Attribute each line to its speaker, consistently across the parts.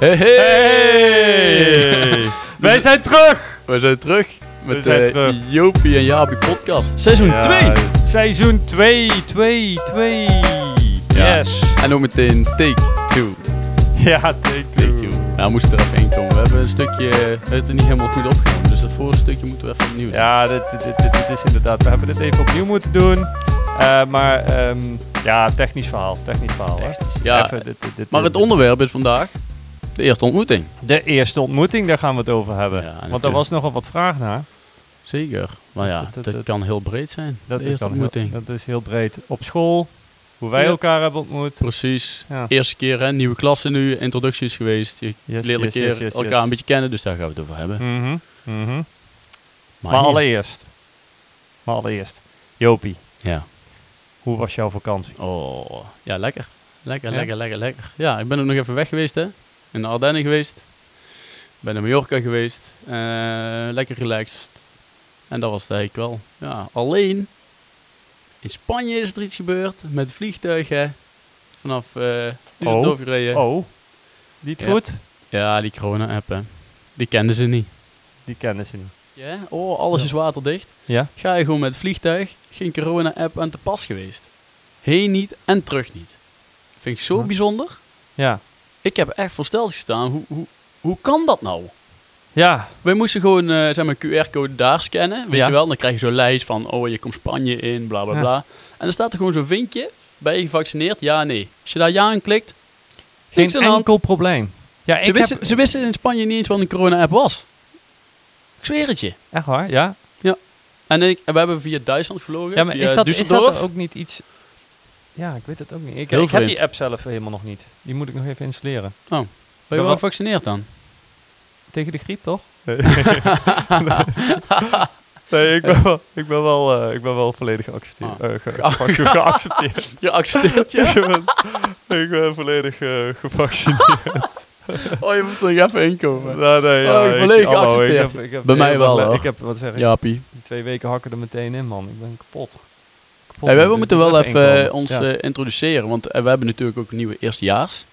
Speaker 1: Hey, hey.
Speaker 2: Hey! Wij zijn terug!
Speaker 1: We zijn terug met
Speaker 2: We zijn
Speaker 1: de
Speaker 2: terug.
Speaker 1: Jopie en Jaapie podcast. Seizoen
Speaker 2: Ja,
Speaker 1: 2!
Speaker 2: Seizoen 2, 2, 2.
Speaker 1: Ja.
Speaker 2: Yes.
Speaker 1: En ook meteen take 2.
Speaker 2: Ja, take
Speaker 1: Take
Speaker 2: two.
Speaker 1: two. Nou, moest er even één komen. We hebben een stukje, we hebben het er niet helemaal goed opgenomen. Dus het vorige stukje moeten we even opnieuw doen.
Speaker 2: Ja, dit, dit, dit, dit is inderdaad. We hebben dit even opnieuw moeten doen. Eh, maar ehm, ja, technisch verhaal. Technisch verhaal. Hè?
Speaker 1: Technisch. Ja,
Speaker 2: Even dit, dit, dit,
Speaker 1: maar
Speaker 2: dit-
Speaker 1: het onderwerp is vandaag de eerste ontmoeting.
Speaker 2: De eerste ontmoeting, daar gaan we het over hebben.
Speaker 1: Ja,
Speaker 2: Want daar
Speaker 1: natuurlijk.
Speaker 2: was nogal wat vraag naar.
Speaker 1: Zeker. Maar
Speaker 2: Dus
Speaker 1: ja,
Speaker 2: dat-
Speaker 1: dat,
Speaker 2: dat- dat-
Speaker 1: kan heel breed zijn.
Speaker 2: Dat
Speaker 1: de
Speaker 2: is
Speaker 1: eerste
Speaker 2: dan
Speaker 1: ontmoeting.
Speaker 2: Heel, dat is heel breed. Op school, hoe wij
Speaker 1: Ja.
Speaker 2: elkaar hebben ontmoet.
Speaker 1: Precies.
Speaker 2: Ja.
Speaker 1: Eerste keer, hè? nieuwe klasse nu, introductie is geweest. Je
Speaker 2: Yes,
Speaker 1: leert
Speaker 2: yes,
Speaker 1: een keer
Speaker 2: yes, yes,
Speaker 1: elkaar
Speaker 2: yes.
Speaker 1: een beetje kennen, dus daar gaan we het over hebben.
Speaker 2: Mhm, mhm. Maar,
Speaker 1: hier-
Speaker 2: allereerst. Maar allereerst. Jopie,
Speaker 1: Ja.
Speaker 2: hoe was jouw vakantie?
Speaker 1: Oh, ja, lekker. Lekker,
Speaker 2: Ja?
Speaker 1: lekker, lekker, lekker. Ja, ik ben ook nog even weg geweest, hè. In de Ardennen geweest. Ik ben naar Mallorca geweest. Eh, lekker relaxed. En dat was het eigenlijk wel. Ja, alleen. In Spanje is er iets gebeurd. Met vliegtuigen. Vanaf eh Düsseldorf
Speaker 2: Oh.
Speaker 1: gereden.
Speaker 2: Oh, niet
Speaker 1: Ja.
Speaker 2: goed?
Speaker 1: Ja, die corona-app, hè. Die kenden ze niet.
Speaker 2: Die kennen ze niet.
Speaker 1: Ja, oh, alles
Speaker 2: Ja.
Speaker 1: is waterdicht.
Speaker 2: Ja?
Speaker 1: Ga je gewoon met het vliegtuig. Geen corona-app aan te pas geweest. Heen niet en terug niet. Vind ik zo
Speaker 2: Ja.
Speaker 1: bijzonder.
Speaker 2: Ja.
Speaker 1: Ik heb echt versteld gestaan. Hoe, hoe, hoe kan dat nou?
Speaker 2: Ja,
Speaker 1: Wij moesten gewoon eh, zeg maar, QR-code daar scannen. Weet
Speaker 2: Ja.
Speaker 1: je wel? Dan krijg je zo'n lijst van: oh, je komt Spanje in, bla bla
Speaker 2: Ja.
Speaker 1: bla. En dan staat er gewoon zo'n vinkje: ben je gevaccineerd? Ja, nee. Als je daar ja aan klikt,
Speaker 2: geen
Speaker 1: niks aan de hand.
Speaker 2: enkel probleem. Ja,
Speaker 1: Ze
Speaker 2: ik
Speaker 1: wisten,
Speaker 2: heb...
Speaker 1: ze wisten in Spanje niet eens wat een corona-app was. Ik zweer het je.
Speaker 2: Echt waar, ja?
Speaker 1: En, ik, en we hebben via Duitsland gevlogen.
Speaker 2: Ja, maar
Speaker 1: via
Speaker 2: is dat, is dat
Speaker 1: Düsseldorf.
Speaker 2: ook niet iets... Ja, ik weet het ook niet. Ik,
Speaker 1: Heel
Speaker 2: ik heb die
Speaker 1: vreemd.
Speaker 2: app zelf helemaal nog niet. Die moet ik nog even installeren.
Speaker 1: Nou, Ben je wel gevaccineerd dan?
Speaker 2: Tegen de griep, toch? Nee, ik ben wel, ik ben wel, eh, ik ben wel volledig geaccepteerd.
Speaker 1: Ah.
Speaker 2: eh, ge- ge- ge- geaccepteerd.
Speaker 1: Je accepteert je?
Speaker 2: ik, ben, ik ben volledig eh, gevaccineerd.
Speaker 1: Oh, je moet er nog even inkomen.
Speaker 2: nou, nee, ja,
Speaker 1: Oh, ik volledig
Speaker 2: hallo,
Speaker 1: geaccepteerd.
Speaker 2: heb- ik heb
Speaker 1: Bij mij
Speaker 2: helemaal
Speaker 1: wel,
Speaker 2: le-
Speaker 1: hoor.
Speaker 2: Ik heb, wat zeg ik,
Speaker 1: Jaapie.
Speaker 2: die twee weken hakken er meteen in, man. Ik ben kapot. kapot
Speaker 1: Nee, wij-
Speaker 2: man.
Speaker 1: we
Speaker 2: Dus
Speaker 1: moeten
Speaker 2: ik moet
Speaker 1: wel even
Speaker 2: inkomen.
Speaker 1: eh, ons
Speaker 2: Ja.
Speaker 1: eh, introduceren, want eh, we hebben natuurlijk ook nieuwe eerstejaars.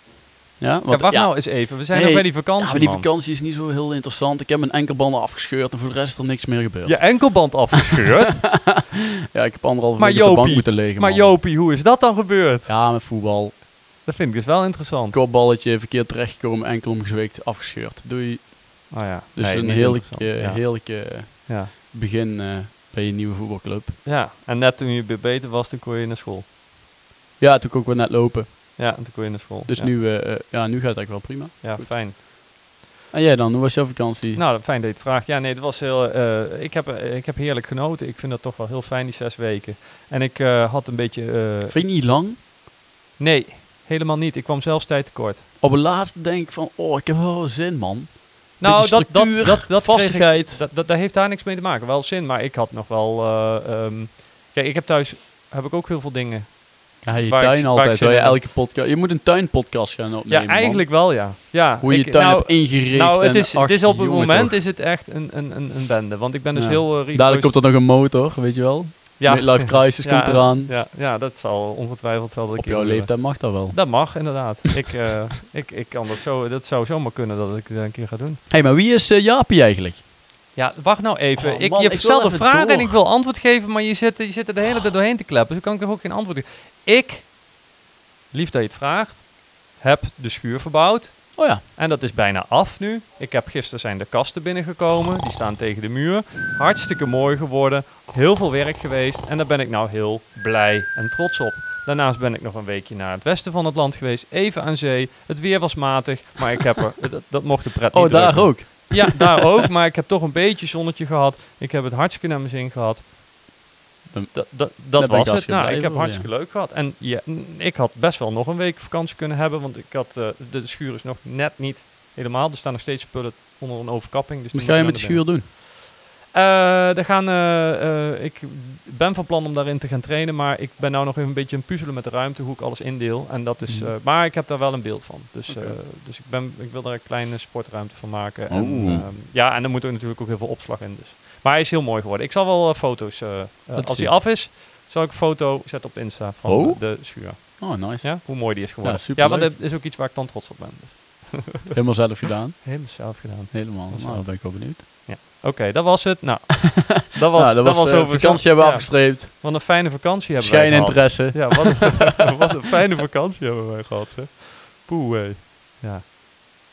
Speaker 1: Ja, want,
Speaker 2: Ja, wacht
Speaker 1: ja,
Speaker 2: nou eens even. We zijn
Speaker 1: Nee,
Speaker 2: nog bij die
Speaker 1: ja,
Speaker 2: vakantie,
Speaker 1: maar die
Speaker 2: man.
Speaker 1: vakantie is niet zo heel interessant. Ik heb mijn enkelbanden afgescheurd en voor de rest is er niks meer gebeurd.
Speaker 2: Je enkelband afgescheurd?
Speaker 1: Ja, ik heb anderhalve
Speaker 2: Maar
Speaker 1: week op de bank
Speaker 2: Jopie,
Speaker 1: moeten liggen,
Speaker 2: maar
Speaker 1: man.
Speaker 2: Jopie, hoe is dat dan gebeurd?
Speaker 1: Ja, met voetbal.
Speaker 2: Dat vind ik dus wel interessant.
Speaker 1: Kopballetje, verkeerd terechtgekomen, enkel omgezwikt, afgescheurd. Doei.
Speaker 2: Oh ja.
Speaker 1: Dus
Speaker 2: Nee,
Speaker 1: een
Speaker 2: niet
Speaker 1: heerlijk,
Speaker 2: interessant.
Speaker 1: eh,
Speaker 2: Ja.
Speaker 1: heerlijk eh,
Speaker 2: Ja.
Speaker 1: begin eh, bij je nieuwe voetbalclub.
Speaker 2: ja, en net toen je weer beter was, toen kon je naar school.
Speaker 1: Ja, toen kon ik wel net lopen.
Speaker 2: Ja, en toen kon je naar school.
Speaker 1: Dus
Speaker 2: ja.
Speaker 1: nu, eh, eh, ja, nu gaat het eigenlijk wel prima.
Speaker 2: Ja,
Speaker 1: Goed.
Speaker 2: fijn.
Speaker 1: En jij dan, hoe was jouw vakantie?
Speaker 2: Nou, fijn dat je het vraagt. Ja, nee, het was heel. eh, ik, heb, eh, ik heb heerlijk genoten. Ik vind dat toch wel heel fijn, die zes weken. En ik eh, had een beetje. eh,
Speaker 1: Vind je niet lang?
Speaker 2: nee, helemaal niet. Ik kwam zelfs tijd tekort.
Speaker 1: Op het laatste denk ik van, oh, ik heb wel zin, man.
Speaker 2: Nou,
Speaker 1: Beetje
Speaker 2: dat, dat,
Speaker 1: structuur,
Speaker 2: dat, dat, kreeg ik,
Speaker 1: vastigheid.
Speaker 2: dat, dat, dat heeft daar niks mee te maken. Wel zin, maar ik had nog wel. eh, ehm, kijk, ik heb thuis. Heb ik ook heel veel dingen.
Speaker 1: ja, je
Speaker 2: waar ik-
Speaker 1: tuin
Speaker 2: waar ik
Speaker 1: altijd.
Speaker 2: zin
Speaker 1: Waar je
Speaker 2: in heb.
Speaker 1: elke podcast. Je moet een tuinpodcast gaan opnemen.
Speaker 2: ja,
Speaker 1: man.
Speaker 2: eigenlijk wel, ja. ja
Speaker 1: Hoe je
Speaker 2: ik-
Speaker 1: je tuin
Speaker 2: nou,
Speaker 1: hebt ingericht.
Speaker 2: Nou, het
Speaker 1: en,
Speaker 2: is,
Speaker 1: ach,
Speaker 2: het is op het
Speaker 1: jongen,
Speaker 2: moment
Speaker 1: toch.
Speaker 2: is het echt een, een, een, een bende. Want ik ben dus
Speaker 1: Ja.
Speaker 2: heel uh,
Speaker 1: Dadelijk komt er nog een motor, weet je wel. Ja. Midlife crisis komt eraan.
Speaker 2: Ja, ja, dat zal ongetwijfeld zal dat
Speaker 1: Op
Speaker 2: ik
Speaker 1: jouw leeftijd mag dat wel.
Speaker 2: Dat mag, inderdaad. ik, eh, ik, ik kan dat zo, dat zou zomaar kunnen dat ik dat een keer ga doen.
Speaker 1: Hé, hey, maar wie is eh, Jaapie eigenlijk?
Speaker 2: Ja, wacht nou even.
Speaker 1: Oh,
Speaker 2: ik,
Speaker 1: man,
Speaker 2: je
Speaker 1: ik wil
Speaker 2: stelt een
Speaker 1: even
Speaker 2: vraag
Speaker 1: door.
Speaker 2: en ik wil antwoord geven, maar je zit, je zit er de hele tijd doorheen te kleppen. Dus ik kan ik er ook geen antwoord geven. Ik, lief dat je het vraagt, heb de schuur verbouwd.
Speaker 1: Oh ja,
Speaker 2: En dat is bijna af nu. Ik heb gisteren zijn de kasten binnengekomen. Die staan tegen de muur. Hartstikke mooi geworden. Heel veel werk geweest. En daar ben ik nou heel blij en trots op. Daarnaast ben ik nog een weekje naar het westen van het land geweest. Even aan zee. Het weer was matig. Maar ik heb er... Dat, dat mocht de pret
Speaker 1: oh
Speaker 2: niet
Speaker 1: daar
Speaker 2: drukken.
Speaker 1: ook.
Speaker 2: Ja, daar ook. Maar ik heb toch een beetje zonnetje gehad. Ik heb het hartstikke naar mijn zin gehad.
Speaker 1: Dan-
Speaker 2: Dat, dat,
Speaker 1: ben
Speaker 2: dat
Speaker 1: ik
Speaker 2: was het.
Speaker 1: hartstikke
Speaker 2: Nou,
Speaker 1: blij
Speaker 2: ik heb
Speaker 1: voor,
Speaker 2: hartstikke leuk gehad. En ja, n- ik had best wel nog een week vakantie kunnen hebben. Want ik had, eh, de schuur is nog net niet helemaal. Er staan nog steeds spullen onder een overkapping. Dus
Speaker 1: Wat
Speaker 2: die
Speaker 1: ga je met
Speaker 2: moet
Speaker 1: de
Speaker 2: naar
Speaker 1: schuur doen?
Speaker 2: binnen. Eh, daar gaan, eh, eh, ik ben van plan om daarin te gaan trainen. Maar ik ben nou nog even een beetje aan het puzzelen met de ruimte. Hoe ik alles indeel. En dat is,
Speaker 1: Mhm.
Speaker 2: eh, maar ik heb daar wel een beeld van. Dus,
Speaker 1: Oké.
Speaker 2: eh, dus ik, ben, ik wil daar een kleine sportruimte van maken. En,
Speaker 1: Oeh.
Speaker 2: ehm, ja, en er moet er natuurlijk ook heel veel opslag in. Dus. Maar hij is heel mooi geworden. Ik zal wel eh, foto's, eh, eh,
Speaker 1: Laat
Speaker 2: als
Speaker 1: zien.
Speaker 2: hij af is, zal ik een foto zetten op de Insta van
Speaker 1: Oh.
Speaker 2: eh, de schuur.
Speaker 1: Oh, nice.
Speaker 2: Ja? Hoe mooi die is geworden.
Speaker 1: Ja,
Speaker 2: Ja,
Speaker 1: superleuk.
Speaker 2: want dat is ook iets waar ik dan trots op ben. Dus.
Speaker 1: Helemaal zelf gedaan.
Speaker 2: Helemaal zelf gedaan.
Speaker 1: Helemaal.
Speaker 2: Dat is
Speaker 1: Nou,
Speaker 2: wel-
Speaker 1: dan ben ik wel benieuwd.
Speaker 2: Oké, dat was het. Nou, dat was,
Speaker 1: Nou,
Speaker 2: dat was,
Speaker 1: eh,
Speaker 2: over
Speaker 1: vakantie hebben we
Speaker 2: ja,
Speaker 1: afgestreept.
Speaker 2: Wat een fijne vakantie hebben wij
Speaker 1: Schijn
Speaker 2: gehad.
Speaker 1: interesse.
Speaker 2: Ja, wat een, wat een fijne vakantie hebben wij gehad. Hè. Poeh, hé. Ja.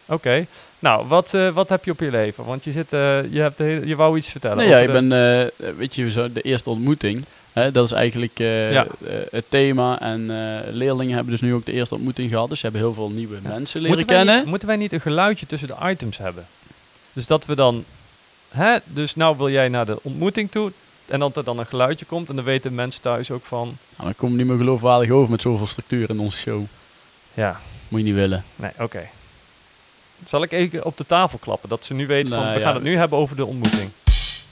Speaker 2: Oké. Nou, wat, eh, wat heb je op je leven? Want je, zit, eh, je, hebt de hele- je wou iets vertellen.
Speaker 1: Nee, ja,
Speaker 2: over
Speaker 1: ik
Speaker 2: de-
Speaker 1: ben, eh, weet je, zo de eerste ontmoeting. Hè, dat is eigenlijk eh,
Speaker 2: Ja.
Speaker 1: eh, het thema. En eh, leerlingen hebben dus nu ook de eerste ontmoeting gehad. Dus ze hebben heel veel nieuwe mensen leren
Speaker 2: moeten Wij
Speaker 1: kennen.
Speaker 2: niet, moeten wij niet een geluidje tussen de items hebben? Dus dat we dan... Hè? Dus nou wil jij naar de ontmoeting toe. En dat er dan een geluidje komt. En dan weten mensen thuis ook van...
Speaker 1: Nou, dan komt niet meer geloofwaardig over met zoveel structuur in onze show.
Speaker 2: Ja,
Speaker 1: Moet je niet willen.
Speaker 2: nee, oké. Zal ik even op de tafel klappen? Dat ze nu weten van...
Speaker 1: Nou,
Speaker 2: We
Speaker 1: ja.
Speaker 2: gaan het nu hebben over de ontmoeting.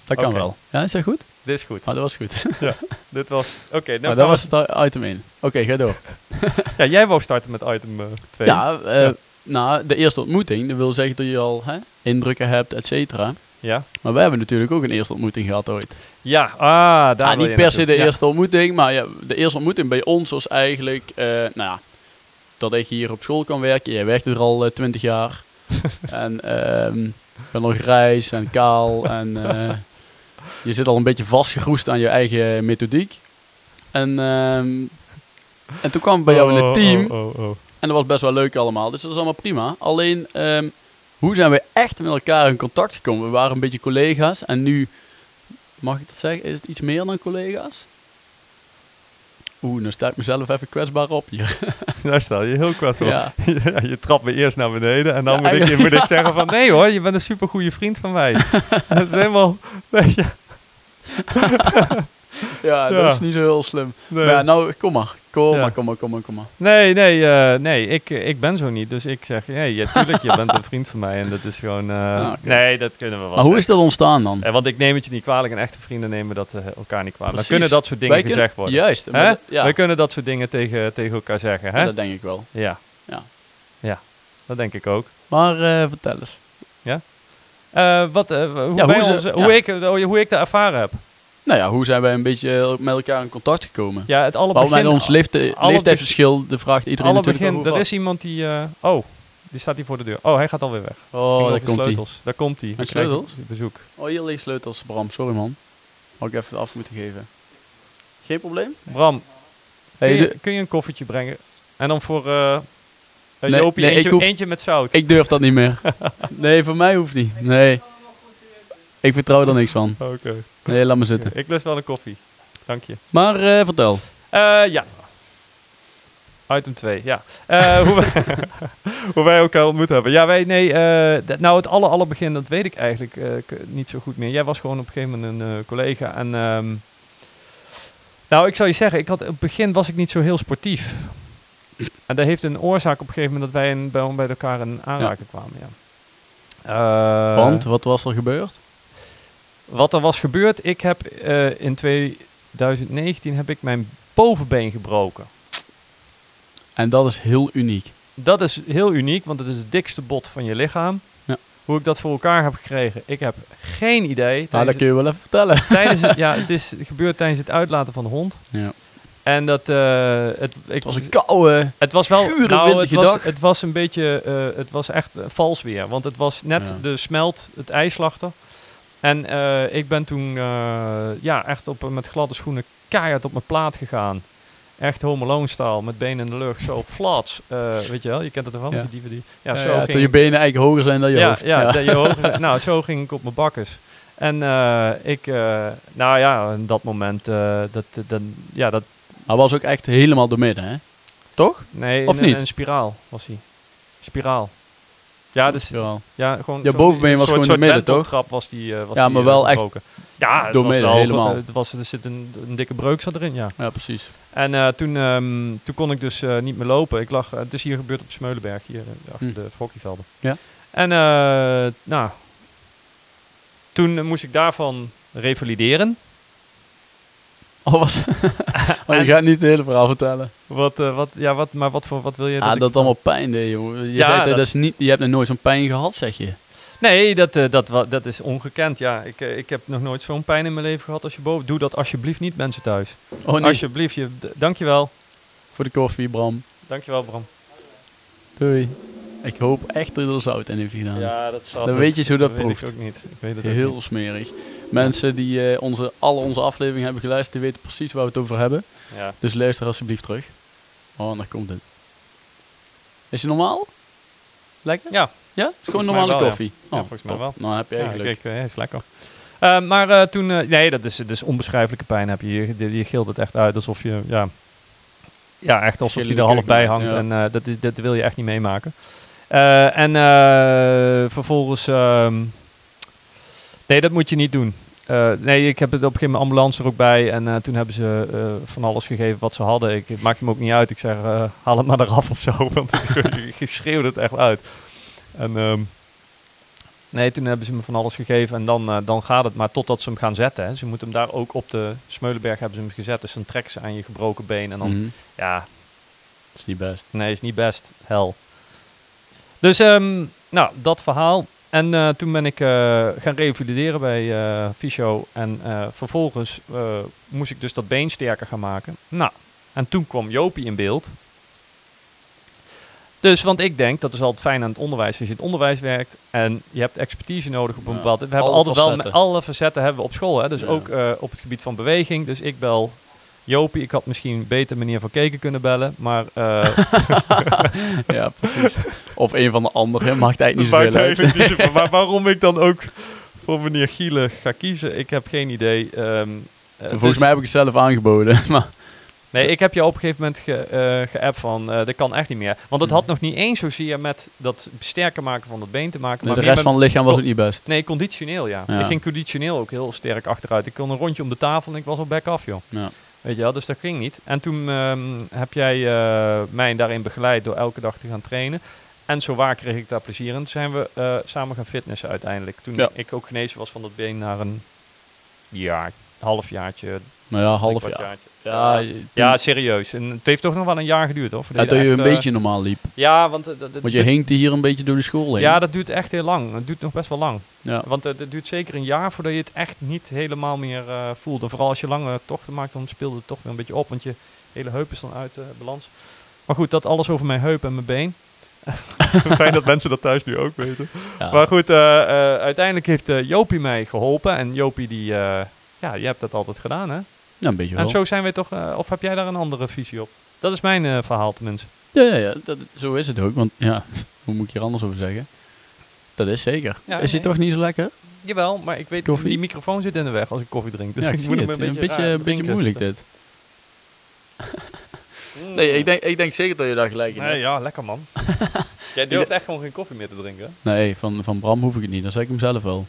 Speaker 1: Dat kan
Speaker 2: Oké.
Speaker 1: wel. Ja, is dat goed?
Speaker 2: Dit is goed.
Speaker 1: Maar dat was goed.
Speaker 2: Dit was... Oké,
Speaker 1: maar
Speaker 2: nou gaan
Speaker 1: dat
Speaker 2: we-
Speaker 1: was het i- item 1. Oké, ga door.
Speaker 2: Ja, jij wou starten met item 2.
Speaker 1: Ja, eh,
Speaker 2: Ja.
Speaker 1: nou, de eerste ontmoeting. Dat wil zeggen dat je al hè, indrukken hebt, et cetera.
Speaker 2: Ja.
Speaker 1: Maar wij hebben natuurlijk ook een eerste ontmoeting gehad ooit.
Speaker 2: Ja, ah, daar
Speaker 1: Ja,
Speaker 2: wil
Speaker 1: niet
Speaker 2: je
Speaker 1: per se
Speaker 2: naartoe.
Speaker 1: de
Speaker 2: Ja.
Speaker 1: eerste ontmoeting, maar ja, de eerste ontmoeting bij ons was eigenlijk, eh, nou ja, dat ik hier op school kan werken. Jij werkte er al eh, twintig jaar. en ehm, ik ben nog grijs en kaal en eh, je zit al een beetje vastgeroest aan je eigen methodiek. En, ehm, en toen kwam ik bij jou in het
Speaker 2: Oh,
Speaker 1: team
Speaker 2: oh, oh, oh.
Speaker 1: en dat was best wel leuk allemaal, dus dat is allemaal prima. Alleen, ehm, hoe zijn we echt met elkaar in contact gekomen? We waren een beetje collega's en nu, mag ik dat zeggen, is het iets meer dan collega's? Oeh, nou sta ik mezelf even kwetsbaar op hier.
Speaker 2: Daar sta je heel kwetsbaar. op.
Speaker 1: Ja.
Speaker 2: Ja, je trapt me eerst naar beneden en dan
Speaker 1: Ja,
Speaker 2: moet, ik,
Speaker 1: eigenlijk-
Speaker 2: moet ik zeggen van... Nee hoor, je bent een supergoeie vriend van mij. dat is helemaal... Nee, ja,
Speaker 1: Ja,
Speaker 2: Ja.
Speaker 1: dat is niet zo heel slim.
Speaker 2: nee.
Speaker 1: Maar ja, nou, kom maar. Kom
Speaker 2: Ja.
Speaker 1: maar, kom maar, kom maar, kom maar.
Speaker 2: nee, nee, eh, nee ik, ik ben zo niet. Dus ik zeg, nee, ja, tuurlijk, je bent een vriend van mij. En dat is gewoon... eh,
Speaker 1: Ah, oké.
Speaker 2: Nee, dat kunnen we wel
Speaker 1: Maar hoe
Speaker 2: zeggen.
Speaker 1: is dat ontstaan dan?
Speaker 2: Eh, want ik neem het je niet kwalijk en echte vrienden nemen dat eh, elkaar niet kwalijk. Dan
Speaker 1: Precies.
Speaker 2: kunnen dat soort dingen
Speaker 1: Wij kunnen-
Speaker 2: gezegd worden.
Speaker 1: Juist.
Speaker 2: Hè?
Speaker 1: maar dat- ja,
Speaker 2: We kunnen dat soort dingen tegen, tegen elkaar zeggen. Hè?
Speaker 1: dat denk ik wel.
Speaker 2: Ja.
Speaker 1: Ja.
Speaker 2: Ja, dat denk ik ook.
Speaker 1: Maar eh, vertel eens.
Speaker 2: Eh, wat, eh, w- hoe,
Speaker 1: Ja,
Speaker 2: wij
Speaker 1: hoe ze-
Speaker 2: onze-
Speaker 1: ja.
Speaker 2: hoe, ik, eh, hoe ik dat ervaren heb.
Speaker 1: Nou ja, hoe zijn wij een beetje met elkaar in contact gekomen?
Speaker 2: Ja, het alle
Speaker 1: Wel,
Speaker 2: begin...
Speaker 1: met ons eh, leefte-
Speaker 2: alle
Speaker 1: leeftijdsverschil, de vraagt iedereen
Speaker 2: alle
Speaker 1: natuurlijk
Speaker 2: begin
Speaker 1: wel
Speaker 2: er
Speaker 1: hoe
Speaker 2: is iemand die... eh, oh, die staat hier voor de deur. Oh, hij gaat alweer weg.
Speaker 1: vaak. Oh, daar
Speaker 2: Ging over
Speaker 1: komt hij.
Speaker 2: sleutels. Daar komt hij.
Speaker 1: Met
Speaker 2: We krijgen
Speaker 1: sleutels?
Speaker 2: Bezoek.
Speaker 1: Oh, hier liggen sleutels, Bram. Sorry, man. Had ik even af moeten geven. Geen probleem?
Speaker 2: Bram,
Speaker 1: Hey,
Speaker 2: kun, je,
Speaker 1: de-
Speaker 2: kun je een koffertje brengen? En dan voor eh eh,
Speaker 1: Nee,
Speaker 2: Jopie
Speaker 1: nee, ik
Speaker 2: eentje,
Speaker 1: hoef-
Speaker 2: eentje met zout.
Speaker 1: ik durf dat niet meer. Nee, voor mij hoeft niet. Nee. Ik vertrouw er niks van.
Speaker 2: Oké.
Speaker 1: Nee, laat me zitten.
Speaker 2: Ik lust wel een koffie. Dank je.
Speaker 1: Maar eh, vertel.
Speaker 2: Eh, ja. Item 2, ja. Eh, hoe, wij, hoe wij elkaar ontmoet hebben. Ja, wij, nee, eh, d- nou het alle alle begin, dat weet ik eigenlijk eh, k- niet zo goed meer. Jij was gewoon op een gegeven moment een eh, collega en... ehm, nou, ik zou je zeggen, ik had, op het begin was ik niet zo heel sportief. En dat heeft een oorzaak op een gegeven moment dat wij een, bij, bij elkaar in aanraking kwamen, ja. Eh,
Speaker 1: Want, wat was er gebeurd?
Speaker 2: wat er was gebeurd, ik heb eh, in 2019 heb ik mijn bovenbeen gebroken.
Speaker 1: En dat is heel uniek. Nou,
Speaker 2: Dat is heel uniek, want het is het dikste bot van je lichaam.
Speaker 1: Ja.
Speaker 2: Hoe ik dat voor elkaar heb gekregen, ik heb geen idee.
Speaker 1: Nou, dat kun je wel even vertellen.
Speaker 2: het, tijdens het, ja, het is gebeurd tijdens het uitlaten van de hond.
Speaker 1: Ja.
Speaker 2: En dat eh, het, ik,
Speaker 1: Het was een koude...
Speaker 2: het was wel
Speaker 1: gure
Speaker 2: nou, het
Speaker 1: windige
Speaker 2: was,
Speaker 1: dag.
Speaker 2: het was een beetje, eh, het was echt eh, vals weer, want het was net
Speaker 1: Ja.
Speaker 2: de smelt, het ijslachter. En eh, ik ben toen eh, ja echt op met gladde schoenen keihard op mijn plaat gegaan. Echt Home Alone staal, met benen in de lucht, zo flats. eh, weet je wel, je kent het ervan,
Speaker 1: Ja.
Speaker 2: die dieven die. Ja,
Speaker 1: Ja,
Speaker 2: zo
Speaker 1: ja,
Speaker 2: ging
Speaker 1: Toen je benen eigenlijk hoger zijn dan je
Speaker 2: ja,
Speaker 1: hoofd.
Speaker 2: Ja, dat je hoofd is- nou, zo ging ik op mijn bakkers. En eh, ik, eh, nou ja, in dat moment, eh, dat, dat, ja, dat,
Speaker 1: Hij was ook echt helemaal door midden, hè? Toch?
Speaker 2: nee,
Speaker 1: Of
Speaker 2: in, een-
Speaker 1: niet?
Speaker 2: een spiraal was hij. Spiraal. Ja, dus,
Speaker 1: Ja.
Speaker 2: ja, gewoon.
Speaker 1: Ja,
Speaker 2: zo'n-
Speaker 1: bovenbeen
Speaker 2: een
Speaker 1: was
Speaker 2: soort-
Speaker 1: gewoon door
Speaker 2: soort
Speaker 1: midden, toch?
Speaker 2: wenteltrap was die, eh, was
Speaker 1: Ja,
Speaker 2: die,
Speaker 1: maar
Speaker 2: eh,
Speaker 1: wel echt
Speaker 2: gebroken. Ja, het
Speaker 1: door
Speaker 2: was
Speaker 1: midden,
Speaker 2: wel- eh,
Speaker 1: helemaal.
Speaker 2: Het was, er zit een, een dikke breuk zat erin, ja.
Speaker 1: ja, precies.
Speaker 2: En eh, toen, ehm, toen kon ik dus eh, niet meer lopen. Ik lag, eh, het is hier gebeurd op Smeulenberg, hier eh, achter
Speaker 1: Hm.
Speaker 2: de hockeyvelden.
Speaker 1: Ja.
Speaker 2: En eh, nou, toen eh, moest ik daarvan revalideren.
Speaker 1: Oh, was... oh, je
Speaker 2: En-
Speaker 1: gaat niet het hele verhaal vertellen.
Speaker 2: Wat, eh, wat, ja, wat, maar wat, voor, wat wil je
Speaker 1: Ja, dat,
Speaker 2: ik-
Speaker 1: allemaal pijn deed, joh. Je,
Speaker 2: Ja,
Speaker 1: zei dat,
Speaker 2: dat-
Speaker 1: dat is niet, je hebt nog nooit zo'n pijn gehad, zeg je.
Speaker 2: Nee, dat, eh, dat, wa- dat is ongekend. Ja, ik, eh, ik heb nog nooit zo'n pijn in mijn leven gehad als je boven... Doe dat alsjeblieft niet, mensen thuis.
Speaker 1: Oh nee,
Speaker 2: Alsjeblieft, je, d- dankjewel.
Speaker 1: voor de koffie, Bram.
Speaker 2: Dankjewel, Bram.
Speaker 1: Doei. Ik hoop echt dat er zout in heeft gedaan.
Speaker 2: Ja, dat zal
Speaker 1: Dan weet je eens hoe dat proeft.
Speaker 2: Weet ik ook niet. Ik weet het ook
Speaker 1: Heel
Speaker 2: niet.
Speaker 1: smerig. Mensen die eh, onze, alle onze afleveringen hebben geluisterd, die weten precies waar we het over hebben.
Speaker 2: Ja.
Speaker 1: Dus luister alsjeblieft terug. Oh, en daar komt het. Is het normaal? Lekker?
Speaker 2: ja,
Speaker 1: Ja? Het is gewoon
Speaker 2: mij
Speaker 1: normale
Speaker 2: wel, ja.
Speaker 1: koffie.
Speaker 2: Ja,
Speaker 1: Oh,
Speaker 2: volgens mij
Speaker 1: top.
Speaker 2: wel.
Speaker 1: Nou, heb je
Speaker 2: ja,
Speaker 1: eigenlijk.
Speaker 2: kijk, eh, is lekker. Eh, maar eh, toen, eh, nee, dat is dus onbeschrijfelijke pijn heb je hier. Je, je gilt het echt uit alsof je, ja, ja echt alsof
Speaker 1: Gillen
Speaker 2: die
Speaker 1: de
Speaker 2: er half
Speaker 1: keuken
Speaker 2: bij
Speaker 1: uit,
Speaker 2: hangt.
Speaker 1: ja.
Speaker 2: En eh, dat, is- dat wil je echt niet meemaken. Eh, en eh, vervolgens, ehm, nee, dat moet je niet doen. Eh, nee, ik heb het op een gegeven moment ambulance er ook bij. En eh, toen hebben ze eh, van alles gegeven wat ze hadden. Ik, het maakt me ook niet uit. Ik zeg, eh, haal het maar eraf of zo. Want je schreeuwde het echt uit. En ehm, nee, toen hebben ze me van alles gegeven. En dan, eh, dan gaat het maar totdat ze hem gaan zetten. Hè. Ze moeten hem daar ook op de Smeulenberg hebben ze hem gezet. Dus dan trekken ze aan je gebroken been. En dan,
Speaker 1: Mhm.
Speaker 2: ja,
Speaker 1: Dat is niet best.
Speaker 2: nee, is niet best. Hel. Dus, ehm, nou, dat verhaal. En eh, toen ben ik eh, gaan revalideren bij eh Fysio. En eh, vervolgens eh, moest ik dus dat been sterker gaan maken. Nou, en toen kwam Jopie in beeld. Dus, want ik denk, dat is altijd fijn aan het onderwijs. Als je in het onderwijs werkt en je hebt expertise nodig op een
Speaker 1: Ja,
Speaker 2: bepaald... We hebben
Speaker 1: alle
Speaker 2: altijd wel met
Speaker 1: facetten.
Speaker 2: alle facetten hebben we op school. Hè? Dus
Speaker 1: Ja.
Speaker 2: ook eh, op het gebied van beweging. Dus ik bel Jopie. Ik had misschien een betere manier van keken kunnen bellen. Maar eh,
Speaker 1: ja, precies. Of een van de anderen. Maakt eigenlijk niet
Speaker 2: Dat maakt
Speaker 1: zoveel uit.
Speaker 2: eigenlijk niet zoveel. Maar waarom ik dan ook voor meneer Gielen ga kiezen, ik heb geen idee. Ehm, eh,
Speaker 1: Volgens
Speaker 2: dus-
Speaker 1: mij heb ik het zelf aangeboden. Maar
Speaker 2: Nee, ik heb je op een gegeven moment ge, eh, geappt van, eh, dat kan echt niet meer. Want
Speaker 1: Hmm.
Speaker 2: het had nog niet eens zozeer met dat sterker maken van dat been te maken.
Speaker 1: Nee,
Speaker 2: maar
Speaker 1: de
Speaker 2: meer
Speaker 1: rest van
Speaker 2: met-
Speaker 1: het lichaam was ook niet best.
Speaker 2: Nee, conditioneel ja.
Speaker 1: Ja.
Speaker 2: Ik ging conditioneel ook heel sterk achteruit. Ik kon een rondje om de tafel en ik was al back af joh.
Speaker 1: Ja.
Speaker 2: Weet je wel, dus dat ging niet. En toen ehm, heb jij eh, mij daarin begeleid door elke dag te gaan trainen. En zo waar kreeg ik daar plezier in. Toen zijn we eh, samen gaan fitnessen uiteindelijk. Toen
Speaker 1: Ja.
Speaker 2: ik ook genezen was van dat been naar een jaar, halfjaartje.
Speaker 1: Nou ja, half jaar.
Speaker 2: driekwart
Speaker 1: Ja,
Speaker 2: jaartje.
Speaker 1: je-
Speaker 2: Ja, serieus. En het heeft toch nog wel een jaar geduurd hoor.
Speaker 1: ja,
Speaker 2: voordat
Speaker 1: dat je
Speaker 2: echt,
Speaker 1: een
Speaker 2: eh,
Speaker 1: beetje normaal liep.
Speaker 2: Ja, want, eh, dat- dat-
Speaker 1: Want je hinkte hier een beetje door de school heen.
Speaker 2: ja, dat duurt echt heel lang. Het duurt nog best wel lang.
Speaker 1: Ja.
Speaker 2: Want eh, het duurt zeker een jaar voordat je het echt niet helemaal meer eh, voelt. En vooral als je lange tochten maakt, dan speelde het toch weer een beetje op. Want je hele heup is dan uit eh, balans. Maar goed, dat alles over mijn heup en mijn been. Fijn dat mensen dat thuis nu ook weten.
Speaker 1: Ja.
Speaker 2: Maar goed, eh, eh, uiteindelijk heeft eh, Jopie mij geholpen. En Jopie, die, eh, ja, je hebt dat altijd gedaan, hè?
Speaker 1: Ja, een beetje wel.
Speaker 2: En zo zijn we toch, eh, of heb jij daar een andere visie op? Dat is mijn eh, verhaal tenminste.
Speaker 1: Ja, ja, ja dat, zo is het ook. Want ja, hoe moet ik hier anders over zeggen? Dat is zeker.
Speaker 2: Ja, Dus
Speaker 1: is dit
Speaker 2: nee.
Speaker 1: toch niet zo lekker?
Speaker 2: Jawel, maar ik weet,
Speaker 1: Koffie?
Speaker 2: die microfoon zit in de weg als ik koffie drink. Dus
Speaker 1: ja,
Speaker 2: ik,
Speaker 1: zie
Speaker 2: moet hem
Speaker 1: het.
Speaker 2: een beetje, raar
Speaker 1: een beetje
Speaker 2: drinken.
Speaker 1: moeilijk dit. Nee,
Speaker 2: eh,
Speaker 1: ik denk, ik denk zeker dat je daar gelijk in
Speaker 2: Nee,
Speaker 1: hebt.
Speaker 2: ja, lekker man. Jij durft echt gewoon geen koffie meer te drinken, hè?
Speaker 1: Nee, van, van Bram hoef ik het niet. Dan zeg ik hem zelf wel.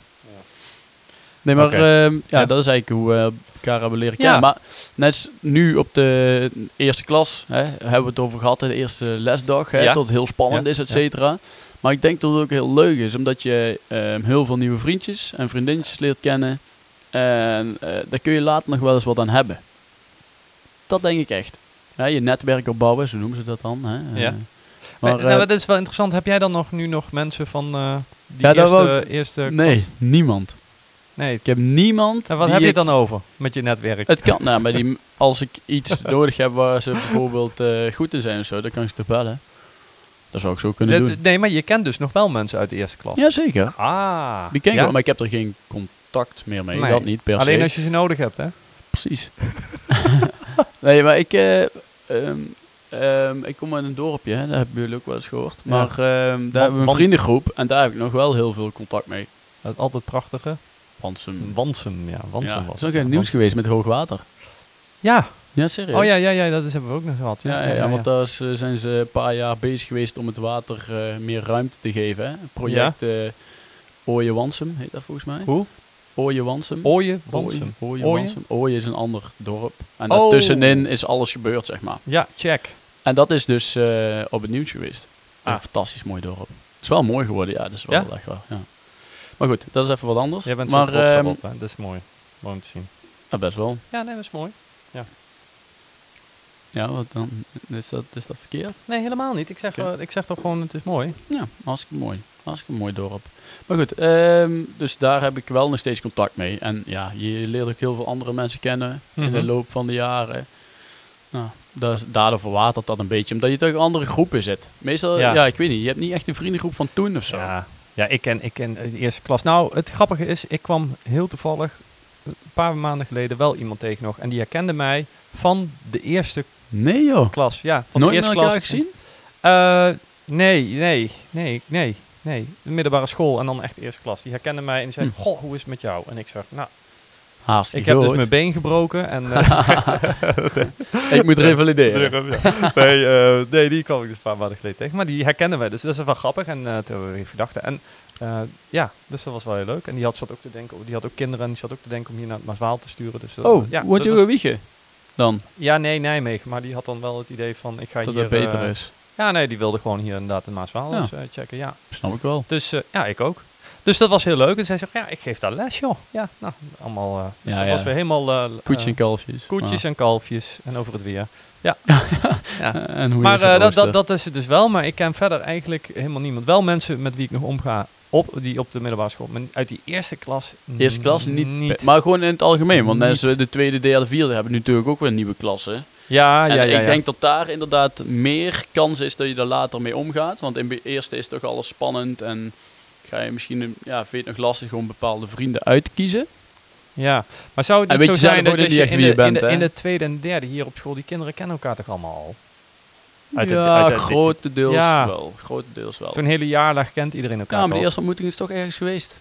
Speaker 1: Nee, maar
Speaker 2: Oké.
Speaker 1: ehm, ja,
Speaker 2: Ja.
Speaker 1: dat is eigenlijk hoe we elkaar hebben leren
Speaker 2: Ja.
Speaker 1: kennen. Maar net als nu op de eerste klas hè, hebben we het over gehad, hè, de eerste lesdag, hè,
Speaker 2: Ja.
Speaker 1: tot het heel spannend
Speaker 2: Ja,
Speaker 1: is, et
Speaker 2: ja.
Speaker 1: cetera. Maar ik denk dat het ook heel leuk is, omdat je ehm, heel veel nieuwe vriendjes en vriendinnetjes leert kennen. En eh, daar kun je later nog wel eens wat aan hebben. Dat denk ik echt. Ja, je netwerk opbouwen, zo noemen ze dat dan. Hè.
Speaker 2: Ja.
Speaker 1: Eh,
Speaker 2: Maar,
Speaker 1: maar,
Speaker 2: nou,
Speaker 1: eh,
Speaker 2: maar dat is wel interessant. Heb jij dan nog, nu nog mensen van eh die
Speaker 1: Ja, dat
Speaker 2: eerste...
Speaker 1: wou
Speaker 2: eerste
Speaker 1: nee, niemand.
Speaker 2: nee.
Speaker 1: Ik heb niemand.
Speaker 2: En wat
Speaker 1: die
Speaker 2: heb je
Speaker 1: ik-
Speaker 2: het dan over met je netwerk?
Speaker 1: Het kan, nou, maar die, als ik iets nodig heb waar ze bijvoorbeeld eh, goed in zijn of zo, dan kan ik ze toch bellen. Dat zou ik zo kunnen
Speaker 2: Dit-
Speaker 1: doen.
Speaker 2: nee, maar je kent dus nog wel mensen uit de eerste klas.
Speaker 1: Jazeker.
Speaker 2: Ah.
Speaker 1: Die ken ik
Speaker 2: ja?
Speaker 1: wel, maar ik heb er geen contact meer mee.
Speaker 2: Nee.
Speaker 1: Dat niet per
Speaker 2: Alleen
Speaker 1: se.
Speaker 2: als je ze nodig hebt, hè?
Speaker 1: Precies. nee, maar ik, eh, ehm, ehm, ik kom uit een dorpje, hè, dat hebben jullie ook wel eens gehoord.
Speaker 2: Ja.
Speaker 1: Maar ehm, daar hebben we een
Speaker 2: want-
Speaker 1: vriendengroep en daar heb ik nog wel heel veel contact mee.
Speaker 2: Dat altijd prachtige.
Speaker 1: Want ze...
Speaker 2: Wansum, ja. Wansum
Speaker 1: Hmm. Ja.
Speaker 2: was
Speaker 1: is ook
Speaker 2: het.
Speaker 1: in het nieuws
Speaker 2: Wansum.
Speaker 1: geweest met hoogwater.
Speaker 2: Ja.
Speaker 1: Ja, serieus.
Speaker 2: Oh ja, ja, ja, dat is, hebben we ook nog gehad.
Speaker 1: Ja, ja, ja, want daar is, eh, zijn ze een paar jaar bezig geweest om het water eh, meer ruimte te geven. Hè? Project eh Ooie Wansum heet dat volgens mij.
Speaker 2: Hoe?
Speaker 1: Ooie Wansum.
Speaker 2: Ooien,
Speaker 1: Ooie
Speaker 2: Wansum.
Speaker 1: Ooie
Speaker 2: Ooie?
Speaker 1: Wansum. Ooie is een ander dorp. En
Speaker 2: Oh.
Speaker 1: daartussenin is alles gebeurd, zeg maar.
Speaker 2: Ja, check.
Speaker 1: En dat is dus eh, op het nieuws geweest.
Speaker 2: Ah.
Speaker 1: Een fantastisch mooi dorp. Het is wel mooi geworden, ja. Dat is wel
Speaker 2: Ja?
Speaker 1: echt wel, ja. Maar goed, dat is even wat anders.
Speaker 2: Jij bent
Speaker 1: maar,
Speaker 2: zo trots
Speaker 1: ehm,
Speaker 2: daarop, hè? Dat is mooi. Mooi om te zien.
Speaker 1: ja, best wel.
Speaker 2: Ja, nee, dat is mooi.
Speaker 1: Ja, want dan is dat, is dat verkeerd.
Speaker 2: Nee, helemaal niet. Ik zeg,
Speaker 1: Oké.
Speaker 2: eh, ik zeg toch gewoon, het is mooi.
Speaker 1: Ja, hartstikke mooi. Hartstikke mooi dorp. Maar goed, ehm, dus daar heb ik wel nog steeds contact mee. En ja, je leert ook heel veel andere mensen kennen in
Speaker 2: Mhm.
Speaker 1: de loop van de jaren. Nou, dat is- daardoor verwatert dat een beetje, omdat je toch in andere groepen zit. Meestal,
Speaker 2: Ja.
Speaker 1: ja. ik weet niet, je hebt niet echt een vriendengroep van toen of zo.
Speaker 2: Ja, ja ik, ken, ik ken de eerste klas. Nou, het grappige is, ik kwam heel toevallig eh, een paar maanden geleden wel iemand tegen nog. En die herkende mij van de eerste
Speaker 1: Nee joh,
Speaker 2: klas. Ja, van
Speaker 1: nooit
Speaker 2: de
Speaker 1: met
Speaker 2: eerste
Speaker 1: elkaar
Speaker 2: klas.
Speaker 1: gezien?
Speaker 2: Eh, nee, nee, nee, nee, nee. De middelbare school en dan echt eerste klas. Die herkende mij en die
Speaker 1: Hm.
Speaker 2: zei, goh, hoe is het met jou? En ik zeg, nou,
Speaker 1: Haast
Speaker 2: ik
Speaker 1: niet
Speaker 2: heb dus
Speaker 1: gehoord.
Speaker 2: mijn been gebroken en... eh,
Speaker 1: Ik moet revalideren.
Speaker 2: nee, eh, nee, die kwam ik dus een paar maanden geleden tegen. Maar die herkenden wij, dus dat is wel grappig. En eh, toen hebben we weer gedachten. En eh, ja, dus dat was wel heel leuk. En die had, zat ook te denken, die had ook kinderen en die zat ook te denken om hier naar het Maaswaal te sturen. Dus, dat-
Speaker 1: Oh,
Speaker 2: ja,
Speaker 1: wordt
Speaker 2: dat
Speaker 1: je
Speaker 2: was-
Speaker 1: gewiegen dan,
Speaker 2: Ja, nee, Nijmegen. Maar die had dan wel het idee van, ik ga
Speaker 1: dat
Speaker 2: hier...
Speaker 1: het beter
Speaker 2: eh,
Speaker 1: is.
Speaker 2: Ja, nee, die wilde gewoon hier inderdaad het Maaswaal
Speaker 1: Ja.
Speaker 2: eens, eh, checken, ja.
Speaker 1: Snap ik wel.
Speaker 2: Dus eh, ja, ik ook. Dus dat was heel leuk. En zij zegt, ja, ik geef daar les, joh. Ja, nou, allemaal... eh dus
Speaker 1: Ja,
Speaker 2: dat
Speaker 1: ja.
Speaker 2: was weer helemaal... eh,
Speaker 1: Koetjes
Speaker 2: eh,
Speaker 1: en kalfjes.
Speaker 2: koetjes en kalfjes en over het weer. Ja. ja.
Speaker 1: maar, Ah. en hoe je
Speaker 2: Maar
Speaker 1: ze
Speaker 2: eh, dat, dat,
Speaker 1: roostert.
Speaker 2: dat is het dus wel. Maar ik ken verder eigenlijk helemaal niemand. Wel mensen met wie ik nog omga op, die op de middelbare school. Maar uit die eerste klas
Speaker 1: Eerste klas niet,
Speaker 2: niet.
Speaker 1: pe- Maar gewoon in het algemeen. Want
Speaker 2: Niet.
Speaker 1: mensen de tweede, derde, vierde hebben natuurlijk ook weer nieuwe klassen.
Speaker 2: Ja,
Speaker 1: En
Speaker 2: ja, ja. ja.
Speaker 1: ik denk dat daar inderdaad meer kans is dat je daar later mee omgaat. Want in de eerste is toch alles spannend. En ga je misschien, een- ja, vind je het nog lastig om bepaalde vrienden uit te kiezen.
Speaker 2: ja. Maar zou het
Speaker 1: En
Speaker 2: niet zo
Speaker 1: weet je zelf
Speaker 2: zijn dat
Speaker 1: ook niet
Speaker 2: als je
Speaker 1: echt
Speaker 2: in
Speaker 1: wie
Speaker 2: de,
Speaker 1: je
Speaker 2: in,
Speaker 1: bent,
Speaker 2: de,
Speaker 1: hè?
Speaker 2: in de tweede en derde hier op school, die kinderen kennen elkaar toch allemaal al? Uit het-
Speaker 1: ja,
Speaker 2: uit het-
Speaker 1: grotendeels
Speaker 2: Ja.
Speaker 1: wel. Grotendeels wel.
Speaker 2: Zo'n hele jaarlag kent iedereen
Speaker 1: Oh. Ja,
Speaker 2: elkaar
Speaker 1: maar
Speaker 2: toch?
Speaker 1: die eerste ontmoeting is toch ergens geweest.